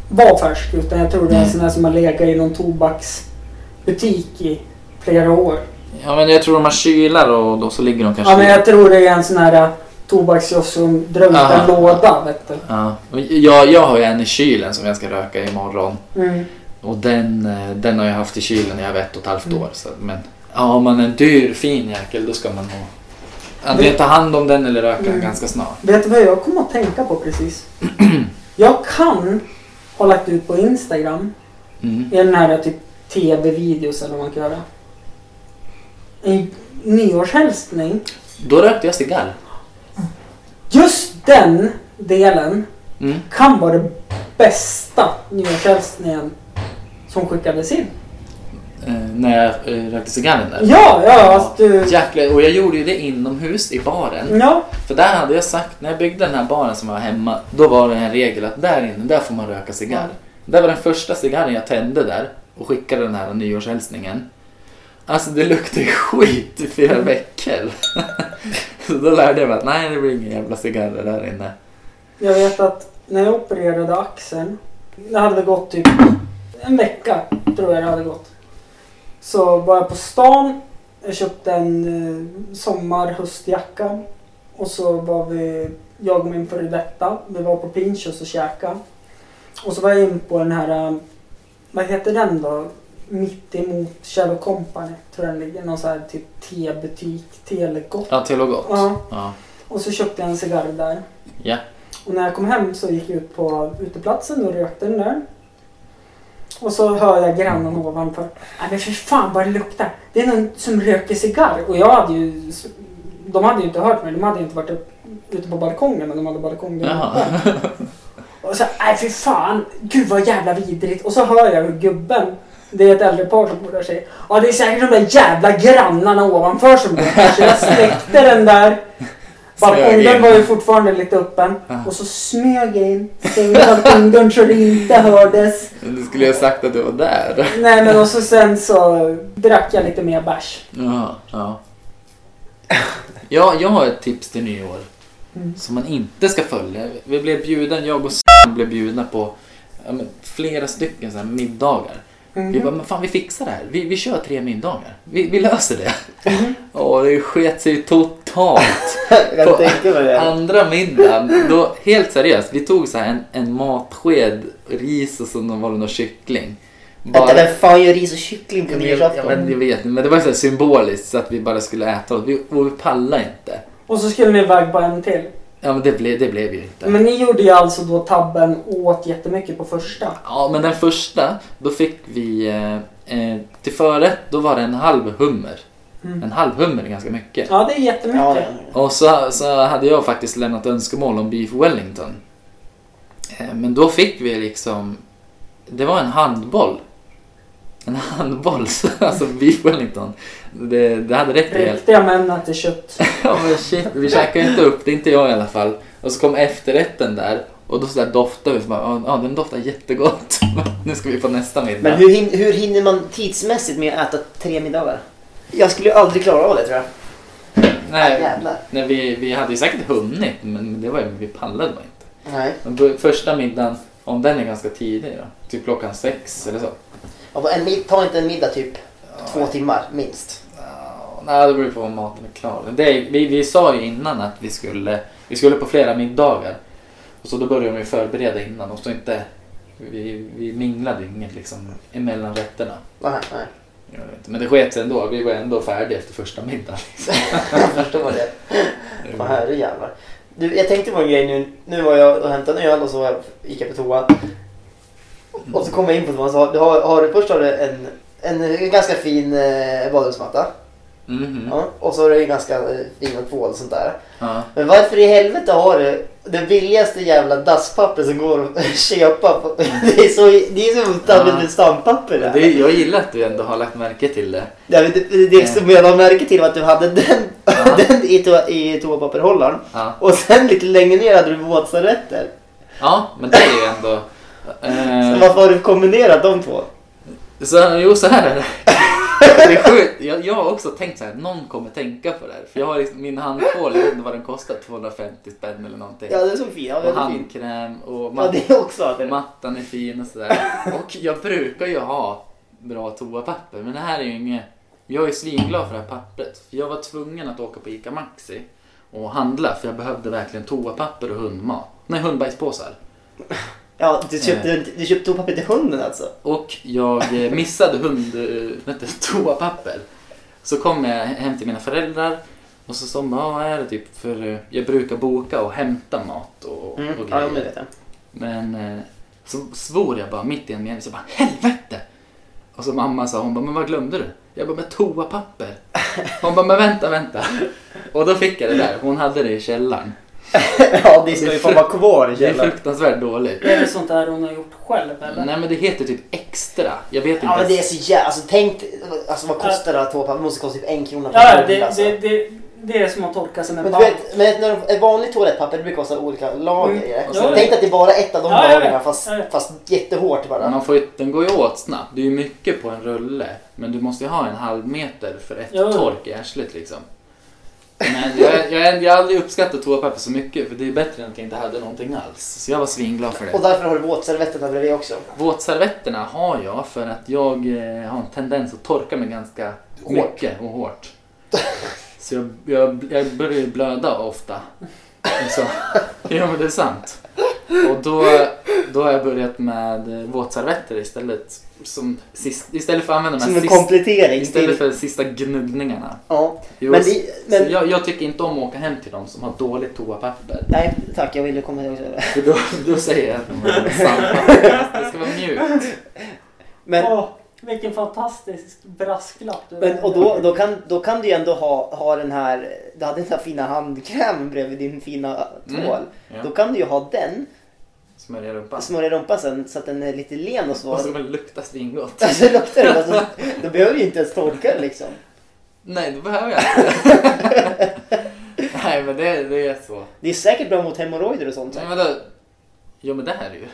S3: var färsk utan jag tror det är en
S2: Nej.
S3: sån här som har legat i någon tobaksbutik i flera år.
S2: Ja men jag tror de har kylar och då så ligger de kanske
S3: Ja men jag tror det är en sån här tobaksjoff som drar ut en
S2: Aha.
S3: låda vet du.
S2: Ja, och jag, jag har ju en i kylen som jag ska röka imorgon.
S3: Mm.
S2: Och den, eh, den har jag haft i kylen i över ett och ett
S3: Mm.
S2: halvt år. Så, men ja, har man en dyr fin jäkel då ska man nog antingen ta hand om den eller röka den
S3: Mm.
S2: ganska snart.
S3: Vet du vad jag kommer att tänka på precis? jag kan ha lagt ut på Instagram
S2: Mm.
S3: i den här typ TV-videos eller vad man kan göra. En nyårshälsning.
S2: Då rökte jag cigarr.
S3: Just den delen
S2: Mm.
S3: kan vara det bästa nyårshälsningen som skickades in.
S2: Eh, när jag eh, rökte cigarren där.
S3: Ja, ja, alltså du...
S2: Jäklar, och jag gjorde ju det inomhus i baren.
S3: Ja,
S2: För där hade jag sagt, när jag byggde den här baren som var hemma, då var det en regel att där inne, där får man röka cigarr. Det var den första cigarren jag tände där och skickade den här nyårshälsningen. Alltså det luktade ju skit i fyra veckor. *laughs* Så då lärde jag mig att nej, det blir inga jävla cigarrer där inne.
S3: jag vet att när jag opererade axeln, det hade väl gått typ en vecka, tror jag det hade gått. Så var jag på stan, jag köpte en eh, sommar-höstjacka och så var vi, jag och min före detta, vi var på Pinchos och käkade. Och så var jag in på den här, eh, vad heter den då? Mitt emot Kjell Company tror jag den ligger. Någon sån här typ tebutik, Telegott.
S2: Ja, till och gott.
S3: Ja.
S2: Ja.
S3: Och så köpte jag en cigarr där.
S2: Ja.
S3: Och när jag kom hem så gick jag ut på uteplatsen och rökte den där. Och så hör jag grannen ovanför. Nej men för fan vad det luktar. Det är någon som röker cigarr. Och jag hade ju... De hade ju inte hört mig. De hade inte varit upp, ute på balkongen men de hade balkongen
S2: Jaha.
S3: uppe. Och så nej för fan. Gud vad jävla vidrigt. Och så hör jag hur gubben. Det är ett äldre par som bor där säger. Ja det är säkert de där jävla grannarna ovanför som röker. Så jag släckte den där. Balkongen
S2: Smög in.
S3: var ju fortfarande lite öppen. Och så smög jag in. Stängde balkongen så det inte hördes.
S2: *laughs* Du skulle ju ha sagt att du var där.
S3: Nej men och så sen så drack jag lite mer bärs.
S2: Ja, ja. ja, jag har ett tips till nyår.
S3: Mm.
S2: Som man inte ska följa. Vi blev bjuden, jag och s blev bjudna på ja, men, flera stycken så här, middagar.
S1: Mhm.
S2: Vi bara, men fan vi fixar det här. Vi, vi kör tre middagar. Vi, vi löser det.
S1: Mhm.
S2: Och det sket sig totalt.
S1: Jag tänker på det.
S2: Andra middagen, då, helt seriöst, vi tog så här en, en matsked ris och så var det någon kyckling.
S1: Vänta, vem fan gör ris och kyckling på
S2: Ja, men jag, ja, men
S1: nyårsafton?
S2: jag vet inte, men det var så här symboliskt så att vi bara skulle äta och vi, och vi pallade inte.
S3: Och så skulle ni iväg på en till.
S2: Ja men det, ble, det blev ju inte.
S3: Men ni gjorde ju alltså då tabben åt jättemycket på första.
S2: Ja men den första, då fick vi eh, eh, till förrätt, då var det en halv hummer.
S3: Mm.
S2: En halv hummer är ganska mycket.
S3: Ja det är
S1: Ja,
S3: jättemycket.
S1: ja, ja.
S2: Och så, så hade jag faktiskt lämnat önskemål om beef wellington. Eh, Men då fick vi liksom, det var en handboll. En handboll, *laughs* så- alltså beef wellington. Det, det hade räckt rejält.
S3: Riktiga män äter kött.
S2: Ja men shit, vi käkar ju inte upp, det är inte jag i alla fall. Och så kom efterrätten där och då så där doftade vi så bara, ja den doftar jättegott. *laughs* nu ska vi på nästa middag.
S1: Men hur, hin- hur hinner man tidsmässigt med att äta tre middagar? Jag skulle ju aldrig klara av det tror jag.
S2: Nej,
S1: Jävlar.
S2: nej vi, vi hade ju säkert hunnit men det var ju, vi pallade bara inte.
S1: Nej.
S2: Men på första middagen, om den är ganska tidig då, typ klockan sex eller så.
S1: Ja, på en mid- ta inte en middag typ två timmar minst.
S2: Ja, Nej, det beror ju på om maten är klar. Det är, vi, vi sa ju innan att vi skulle, vi skulle på flera middagar. Och så då började de ju förbereda innan. Och så inte, vi, vi minglade ju inget liksom emellan rätterna.
S1: Nej, nej.
S2: Jag vet inte, Men det sket sig ändå. Vi var ändå färdiga efter första middagen. liksom. *laughs*
S1: Jag förstår det. Fan herrejävlar. Du, jag tänkte på en grej nu. Nu var jag och hämtade en öl och så var jag, gick jag på toa. Och så kom jag in på toan och sa, du har, har du först har du en, en ganska fin eh, badrumsmatta.
S2: Mhm.
S1: Ja, och så har du en ganska eh, fin tvål och sånt där.
S2: Ja.
S1: Men varför i helvete har du det billigaste jävla dasspapper som går att *laughs* köpa? På, det är så, det är så otroligt med stampapper
S2: Men
S1: där.
S2: Det, jag gillar att du ändå har lagt märke till det.
S1: Ja, men det, det, det som jag la märke till var att du hade den, *laughs* den i, toa, i toapapperhållaren.
S2: Ja,
S1: Och sen lite längre ner hade du våtservetter.
S2: ja men det är ju ändå...
S1: Så
S2: eh,
S1: varför har du kombinerat de *laughs* två?
S2: Så, jo, så här är det. det är sjukt. Jag, jag har också tänkt så här, någon kommer tänka på det här. För jag har liksom, min handtvål, jag vet inte vad den kostar, 250 spänn eller någonting.
S1: Ja, det är så fint. Ja,
S2: och
S1: väldigt fint.
S2: handkräm och
S1: Ja,
S2: mat-
S1: det är också. att det-
S2: mattan är fin och sådär. Och jag brukar ju ha bra toapapper, men det här är ju inget... Jag är svinglad för det här pappret. För jag var tvungen att åka på ICA Maxi och handla, för jag behövde verkligen toapapper och hundmat. Nej, hundbajspåsar.
S1: Ja, du köpte, du köpte toapapper till hunden alltså?
S2: Och
S1: *laughs*
S2: jag eh, missade hund, eh, vad heter det, toapapper. Så kom jag hem till mina föräldrar och så sa de, "Ja, vad är det typ för, eh, jag brukar boka och hämta mat och, och
S1: Mm, Ja,
S2: grejer.
S1: men det vet jag.
S2: Men eh, så svor jag bara mitt i en mening, så jag bara helvete! Och så mamma sa, hon bara, men vad glömde du? Jag bara, men toapapper. Hon bara, men vänta, vänta. Och då fick jag det där, hon hade det i källaren.
S1: *laughs* Ja, det ska ju fan vara kvar i
S2: Det är
S1: källaren.
S2: fruktansvärt dåligt.
S3: Det är väl sånt där hon har gjort själv eller?
S2: Nej men det heter typ extra. Jag vet inte
S1: Ja men
S2: ens-
S1: det är så jävla... Alltså tänk... Alltså vad kostar det att två papper? Det måste kosta typ en krona per
S3: Ja,
S1: papper,
S3: det,
S1: alltså.
S3: det, det, det är som att torka sig med
S1: Men du
S3: band.
S1: vet, men när de, ett vanligt toalettpapper det brukar kosta olika lager i det.
S2: Mm.
S1: Så Tänk att det är bara ett av de
S3: Alltså, Ja, jag
S1: lagren
S3: vet.
S1: fast,
S3: Jag vet.
S1: fast jättehårt
S2: Men
S1: bara.
S2: Man får ju, den går ju åt snabbt. Det är ju mycket på en rulle. Men du måste ju ha en halv meter för ett
S3: Jo.
S2: tork i arslet liksom. Men jag, jag, jag har aldrig uppskattat toapapper så mycket för det är bättre än att jag inte hade någonting alls. Så jag var svinglad för
S1: Och
S2: det.
S1: därför har du våtservetterna bredvid också.
S2: Våtservetterna har jag för att jag eh, har en tendens att torka mig ganska
S1: Hårt.
S2: mycket och hårt. Så jag, jag, jag börjar ju blöda ofta. Så, *laughs* ja men det är sant. Och då, då har jag börjat med eh, våtservetter istället. Som, sist, istället för att använda de
S1: Som
S2: här
S1: en
S2: sista,
S1: komplettering
S2: istället
S1: till...
S2: för de sista gnuggningarna.
S1: Ja.
S2: Jo,
S1: Men
S2: så-
S1: det- men-
S2: så jag, jag tycker inte om att åka hem till de som har dåligt toapapper.
S1: Nej tack, jag ville komma ihåg det.
S2: För då, då säger jag att de har *laughs* samma. Det ska vara mjukt.
S1: Men,
S3: Åh, vilken fantastisk brasklapp du
S1: men och då, då, kan, då kan du ju ändå ha, ha den här... Du hade den här fina handkrämen bredvid din fina
S2: Mm.
S1: tvål.
S2: Ja.
S1: Då kan du ju ha den,
S2: Smörja rumpan.
S1: och smörja rumpan sen så att den är lite len och så. *laughs*
S2: Och så kommer det lukta svingott.
S1: Alltså luktar det alltså, då behöver du ju inte ens torka det liksom.
S2: *laughs* Nej, det behöver jag inte. *laughs* Nej, men det, det är så.
S1: Det är säkert bra mot hemorrojder och sånt.
S2: Nej, men då, jo, men det här är ju.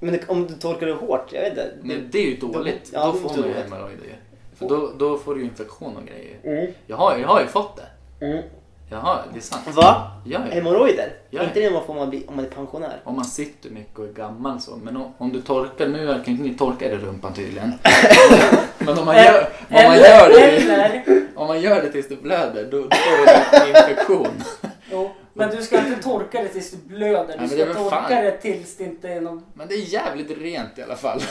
S1: Men det- om du torkar det hårt, jag vet inte. Det-
S2: Men det är ju dåligt.
S1: Ja,
S2: Då
S1: det
S2: får
S1: måste
S2: man ju
S1: vara.
S2: hemorrojder ju. För då, då får du ju infektion och grejer.
S1: Mm.
S2: Jag har, jag har ju fått det.
S1: Mm.
S2: Jaha, det är sant.
S1: Va?
S2: Ja, ja.
S1: Hemorrojder?
S2: Ja.
S1: Inte det man får om man, blir, om man är pensionär?
S2: Om man sitter mycket och är gammal så. Men om, om du torkar, nu verkar inte ni torka er i rumpan tydligen. *laughs* Men om man gör, om man
S3: eller,
S2: gör det,
S3: eller,
S2: om man gör det tills det blöder, då, då får du infektion.
S3: jo, men du ska inte torka det tills du blöder.
S2: men
S3: Du
S2: det är
S3: ska
S2: väl
S3: torka
S2: fan.
S3: det tills det inte är någon...
S2: Men det är jävligt rent i alla fall.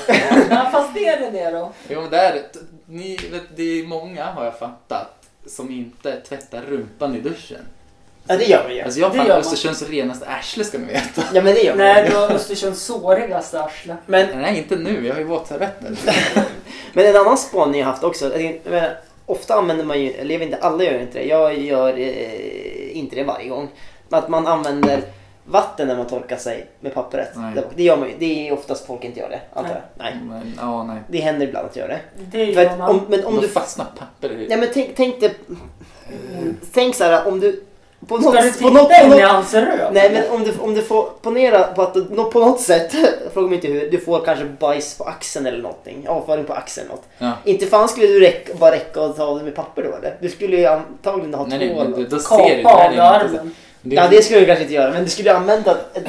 S3: Ja, fast det är det det då.
S2: Jo men det är det. Ni, vet, det är många har jag fattat som inte tvättar rumpan i duschen.
S1: Ja det gör man ju.
S2: Alltså jag har
S3: Det gör
S2: fan
S3: man.
S2: Östersunds renaste arsle ska
S1: *laughs*
S2: ni veta.
S1: Ja men det gör man
S3: Nej,
S1: ju.
S3: du har Östersunds sårigaste arsle.
S1: Men,
S2: Nej inte nu, jag har ju våtservetter.
S1: *laughs* men en annan spaning jag haft också. Jag tänker, jag menar, ofta använder man ju, eller jag vet inte, alla gör inte det. Jag gör eh, inte det varje gång. Men Att man använder vatten när man torkar sig med pappret.
S2: Nej.
S1: Där bak. Det gör man ju. Det är oftast folk inte gör det, antar jag. Nej.
S2: Men ja nej.
S1: Det händer ibland att göra det.
S3: Det
S1: För
S3: gör
S1: att,
S3: man.
S1: om, men om
S2: Då
S1: du
S2: fastnar papper i...
S1: Nej men tänk, tänk dig... Tänk så här, om du på
S3: Ska du
S1: något, på
S3: titta
S1: något, på
S3: in i
S1: något
S3: hans röv?
S1: Nej men om du, om du får ponera på att du, nå- på något sätt, *laughs* fråga mig inte hur, du får kanske bajs på axeln eller någonting. Avföring på axeln något.
S2: Ja.
S1: Inte fan skulle du räcka, bara räcka och ta av det med papper då eller? Du skulle ju antagligen ha
S2: Nej, nej,
S1: tvål.
S2: men då- då ser du.
S3: Kapa
S2: Det här
S3: av
S2: är
S3: dig
S2: ju inte-
S3: armen.
S2: det är
S1: Ja
S2: ju-
S1: det skulle du kanske inte göra men du skulle ju använda ett,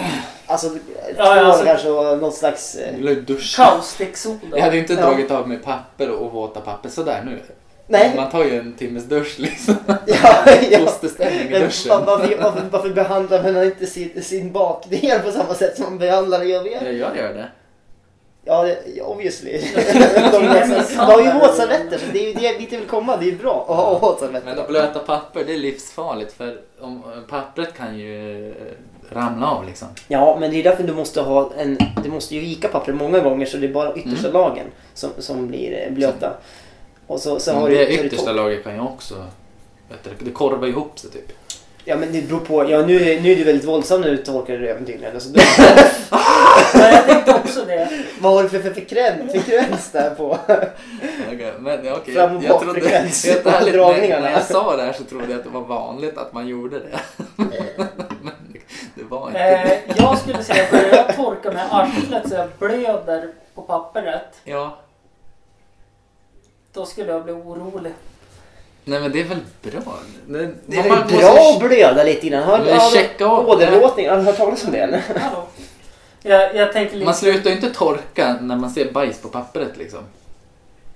S1: alltså, ett
S3: Ja, ja,
S1: tvål
S3: alltså-
S1: kanske och något slags... eh,
S2: Eller duscha. Jag
S3: Kaustiksoda.
S2: hade ju inte
S1: Ja.
S2: dragit av mig papper och våta papper sådär nu.
S1: Nej.
S2: Man tar ju en timmes dusch liksom.
S1: *laughs* Ja, ja.
S2: Fosterställning i
S1: Men
S2: duschen.
S1: va- varför, varför, varför behandlar man inte sin, sin bakdel på samma sätt som man behandlar övriga?
S2: Jag gör det.
S1: Ja, det- obviously. De, de har ju våtservetter, så det är ju det dit jag vill komma. Det är ju bra att ha
S2: Men
S1: våtservetter.
S2: att blöta papper det är livsfarligt för om, pappret kan ju eh, ramla av liksom.
S1: Ja, men det är därför du måste ha en... Du måste ju vika pappret många gånger så det är bara
S2: yttersta
S1: lagen som, som blir eh, blöta. Och så, sen
S2: Men
S1: har du- så
S2: Mm, det
S1: är det
S2: yttersta
S1: torrt.
S2: laget kan ju också... vet du, Det korvar ihop sig typ.
S1: Ja, men det beror på. Ja, nu, är- nu är du väldigt våldsam när du torkar röven tydligen. Alltså, då,
S3: Ja, jag tänkte också det.
S1: vad har du för, för frekvens, frekvens där på?
S2: Okej, Men okej,
S1: Fram och
S2: jag
S1: bak
S2: trodde...
S1: frekvens
S2: *laughs* Helt
S1: på
S2: ärligt, när,
S1: dragningarna.
S2: när jag sa det här så trodde jag att det var vanligt att man gjorde det.
S1: Eh.
S2: *laughs* Men det var inte det.
S3: Eh, jag skulle säga att när jag torkar med arslet så jag blöder på pappret.
S2: Ja.
S3: Då skulle jag bli orolig.
S2: Nej men det är väl bra? Det,
S1: Det är väl bra att blöda lite innan. Har,
S2: Men checka av.
S1: åderlåtning. Har du hört talas om det eller?
S3: Hallå. Jag, jag tänker lite...
S2: Man slutar ju inte torka när man ser bajs på papperet liksom.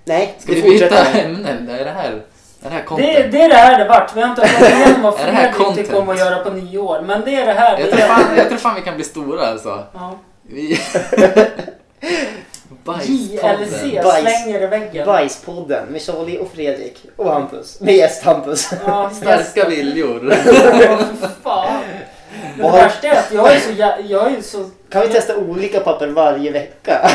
S1: Nej,
S2: Ska vi byta ämne? Är det här, är det här content?
S3: Det, det är det här det vart. Vi har inte fått igenom vad
S2: *laughs* Är det här
S3: Fredrik
S2: content?
S3: tycker om att göra på nio år. Men det är det här.
S2: Jag
S3: det
S2: tror,
S3: är-
S2: fan, jag tror fan vi kan bli stora alltså.
S3: Ja.
S2: Vi...
S3: JLC
S2: *laughs* Bajspodden.
S1: Bajs.
S3: slänger i väggen.
S1: Bajspodden med Charlie och Fredrik och Hampus. Med gäst Hampus. *laughs*
S3: Ja,
S2: Starka viljor.
S3: *laughs* Åh, fan. Men det
S1: Vad har-
S3: värsta är att jag är så... jä- Jag är så...
S1: Kan vi testa olika papper varje
S2: *laughs*
S1: vecka?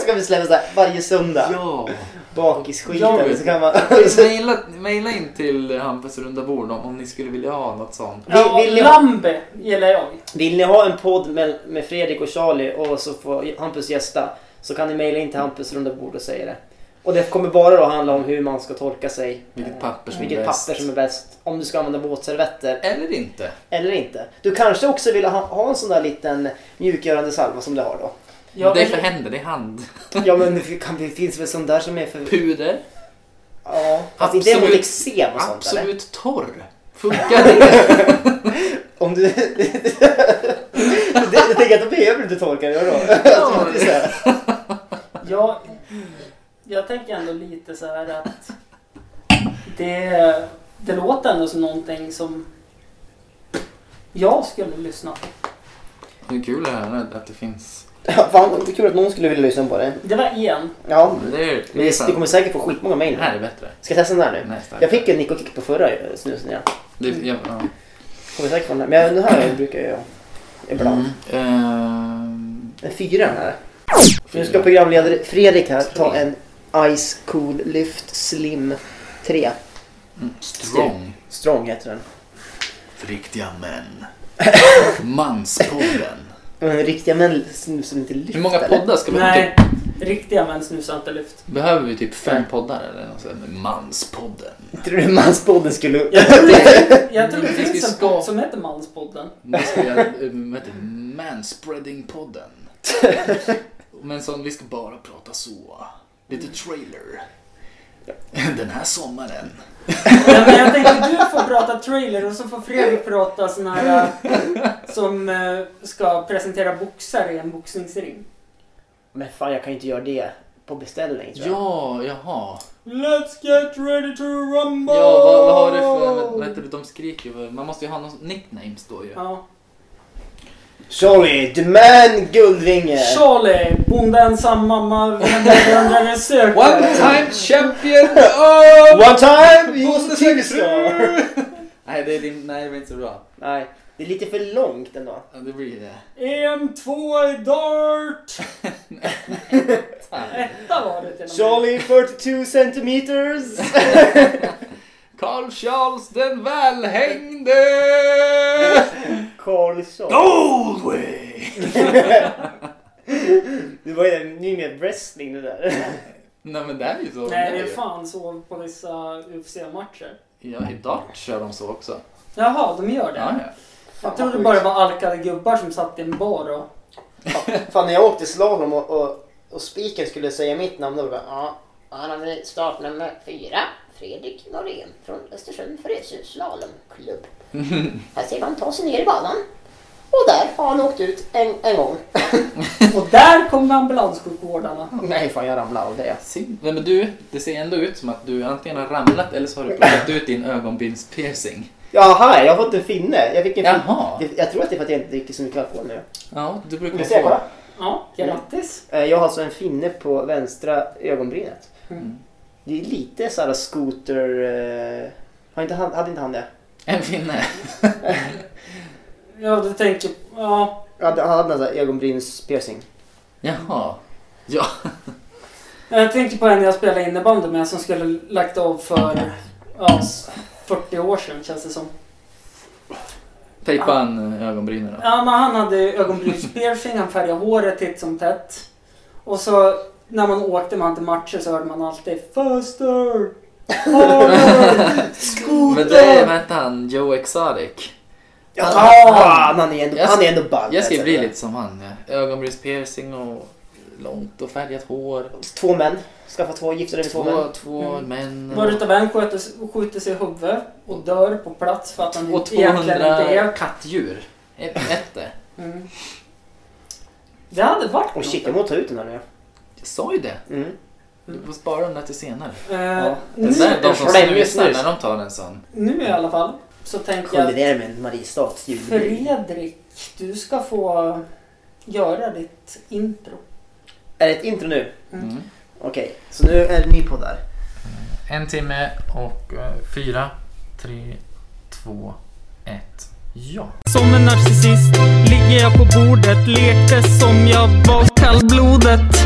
S1: så kan vi släppa så här varje söndag.
S2: ja.
S1: Bakisskiten.
S2: Ja.
S1: så
S2: *laughs*
S1: kan man...
S2: Maila, maila in till Hampus runda bord om, om ni skulle vilja ha något sånt.
S3: Ja,
S1: Vi- vill ni-
S3: Lambe gillar jag.
S1: Vill ni ha en podd med, med Fredrik och Charlie och så får Hampus gästa så kan ni mejla in till Hampus runda bord och säga det. Och det kommer bara då handla om hur man ska torka sig.
S2: Vilket
S1: Eh,
S2: papper som är
S1: vilket
S2: bäst.
S1: papper som är bäst. Om du ska använda våtservetter
S2: Eller inte.
S1: eller inte. Du kanske också vill ha, ha en sån där liten mjukgörande salva som du har då.
S3: Jag
S2: det är
S3: vill-
S2: för händer, det är hand.
S1: Ja men det kan, det finns väl sån där som är för...
S2: Puder.
S1: Ja, fast inte det mot
S2: Absolut.
S1: eksem och sånt eller?
S2: Absolut torr. Funkar det?
S1: Om du... *laughs* Jag tänker att då behöver du inte torka dig då. Alltså, det är *laughs* så här.
S3: Jag, jag tänker ändå lite så här att det, det låter ändå som någonting som jag skulle lyssna på.
S2: Det är kul att höra att det finns.
S1: Ja, Fan, det är kul att någon skulle vilja lyssna på det.
S3: Det var en.
S1: Ja,
S2: Det är,
S1: men det, du kommer säkert få skitmånga
S2: det
S1: mejl.
S2: här är bättre.
S1: Ska jag testa den här nu?
S2: Nej, tack.
S1: Jag fick en Nico Kick på förra eh, snusen ja.
S2: Det, jag, ja.
S1: Kommer säkert få den här. Men den här brukar jag göra ibland.
S2: Mm. Ehm,
S1: En fyra den här. Nu ska programledare Fredrik här ta en Ice Cool Lyft Slim 3.
S2: mm, strong.
S1: Strong heter den.
S2: För riktiga män. Manspodden. *laughs*
S1: Men riktiga män snusar inte lyft
S2: Hur många
S1: eller?
S2: poddar ska vi ha?
S3: Nej,
S2: Typ,
S3: riktiga män snusar inte
S2: *laughs*
S3: lyft.
S2: behöver vi typ fem
S1: Nej.
S2: poddar eller något sånt? Manspodden.
S1: Tror du manspodden skulle...
S3: Jag tror det, jag tror det
S2: Vi
S3: finns en
S2: ska-
S3: podd som heter Manspodden.
S2: Nu ska vi göra, eh, vad heter det? *laughs* Manspreadingpodden. Men sån, vi ska bara prata så. Lite trailer. Den här sommaren.
S3: Men men jag tänkte du får prata trailer och så får Fredrik prata sån här eh, som eh, ska presentera boxare i en boxningsring.
S1: Men fan jag kan ju inte göra det på beställning tror jag.
S2: Ja, jaha.
S3: Let's get ready to rumble!
S2: Ja, vad, vad har du för... Vad heter det? De skriker ju. Man måste ju ha någon nicknames då ju.
S3: Ja.
S1: Charlie, the man Guldvinge!
S3: Charlie, bonde ensam mamma, vandrare söker.
S2: One time champion *laughs* Oh, of...
S1: One time!
S2: Måste
S1: Just till så!
S2: *laughs* Nej, det är din, nej, det var inte så bra.
S1: Nej, det är lite för långt ändå.
S2: Ja, det blir det.
S3: EM2 i dart! Etta var det till och med.
S1: Charlie 42 centimeters!
S2: Carl Charles den *laughs* välhängde!
S1: Karlsson.
S2: Galway!
S1: Det var ju en ny med wrestling det där.
S2: Nej men det är ju så.
S3: Nej, det
S2: ju.
S3: är fan så på vissa UFC-matcher.
S2: Ja, i Dart kör de så också.
S3: Jaha, de gör det?
S2: Ja, ja.
S3: Jag trodde bara det var alkade gubbar som satt i en bar och...
S1: Fan när jag åkte slalom och, och, och spiken skulle säga mitt namn då bara ja, han hade startnummer fyra. Fredrik Norén från Östersund Frösö *laughs* slalomklubb. Här ser man ta sig ner i banan. Och där har han åkt ut en, en gång.
S3: Och där kom ambulanssjukvårdarna.
S1: *laughs* Nej fan jag ramlade av det.
S2: Synd. Nej, men du, det ser ändå ut som att du antingen har ramlat eller så har du plockat ut din ögonbrynspiercing.
S1: Jaha, jag har fått en finne. Jag fick en finne.
S2: Jaha.
S1: Det- Jag tror att det är för att jag inte dricker så mycket alkohol nu.
S2: Ja, du brukar
S1: Vi ser,
S2: få...
S1: kolla.
S3: Ja, grattis.
S1: Eh, Jag har alltså en finne på vänstra ögonbrynet.
S2: Mm.
S1: Det är lite såhär skoter... eh, Har inte han, hade inte han det?
S2: En finne.
S3: Ja, du tänker... Ja.
S1: Hade- Han hade en sån här ögonbrynspiercing.
S2: Jaha. Ja.
S3: Jag tänker på en jag spelade innebandy med som skulle lagt av för ja, s- 40 år sedan känns det som.
S2: Tejpa han ögonbrynen eh, då.
S3: Ja, men han hade ju ögonbrynspiercing, han färgade håret titt som tätt. Och så när man åkte med han till matcher så hörde man alltid Faster! Harder!
S2: Men det vad hette han, Joe Exotic.
S1: Ja,
S3: Ah!
S1: fan, han är ändå,
S2: Jag
S1: han är
S2: ska-
S1: ändå ball.
S2: Jag ska
S1: alltså.
S2: bli lite som han. ja. Ögonbrynspiercing och långt och färgat hår.
S1: Två män. Skaffa två, gifta dig med två,
S2: Två,
S1: män.
S2: två män.
S3: Mm. Var utav en skjuter, skjuter sig i huvudet och dör på plats för att han
S2: Och
S3: egentligen inte
S2: 200
S3: är...
S2: kattdjur. Ett ätte.
S3: Mm. Det hade varit
S1: Och
S3: något.
S1: Oh, shit, jag måste ta ut den här nu.
S2: Jag sa ju det.
S1: Mm.
S2: Du får spara dem där till senare.
S3: Eh,
S1: Ja.
S2: Det
S3: nu,
S2: där är de som
S1: Flängesnus.
S2: snusar när de tar en sån.
S3: nu i alla fall så tänker jag
S1: Kollidera med en Mariestads julbord.
S3: Fredrik, du ska få göra ditt intro.
S1: Är det ett intro nu?
S3: Mm.
S2: Mm.
S1: Okej, så nu är det en ny podd där.
S2: En timme och eh, fyra, tre, två, ett. Ja.
S8: Som en narcissist ligger jag på bordet Lekte som jag var kallblodet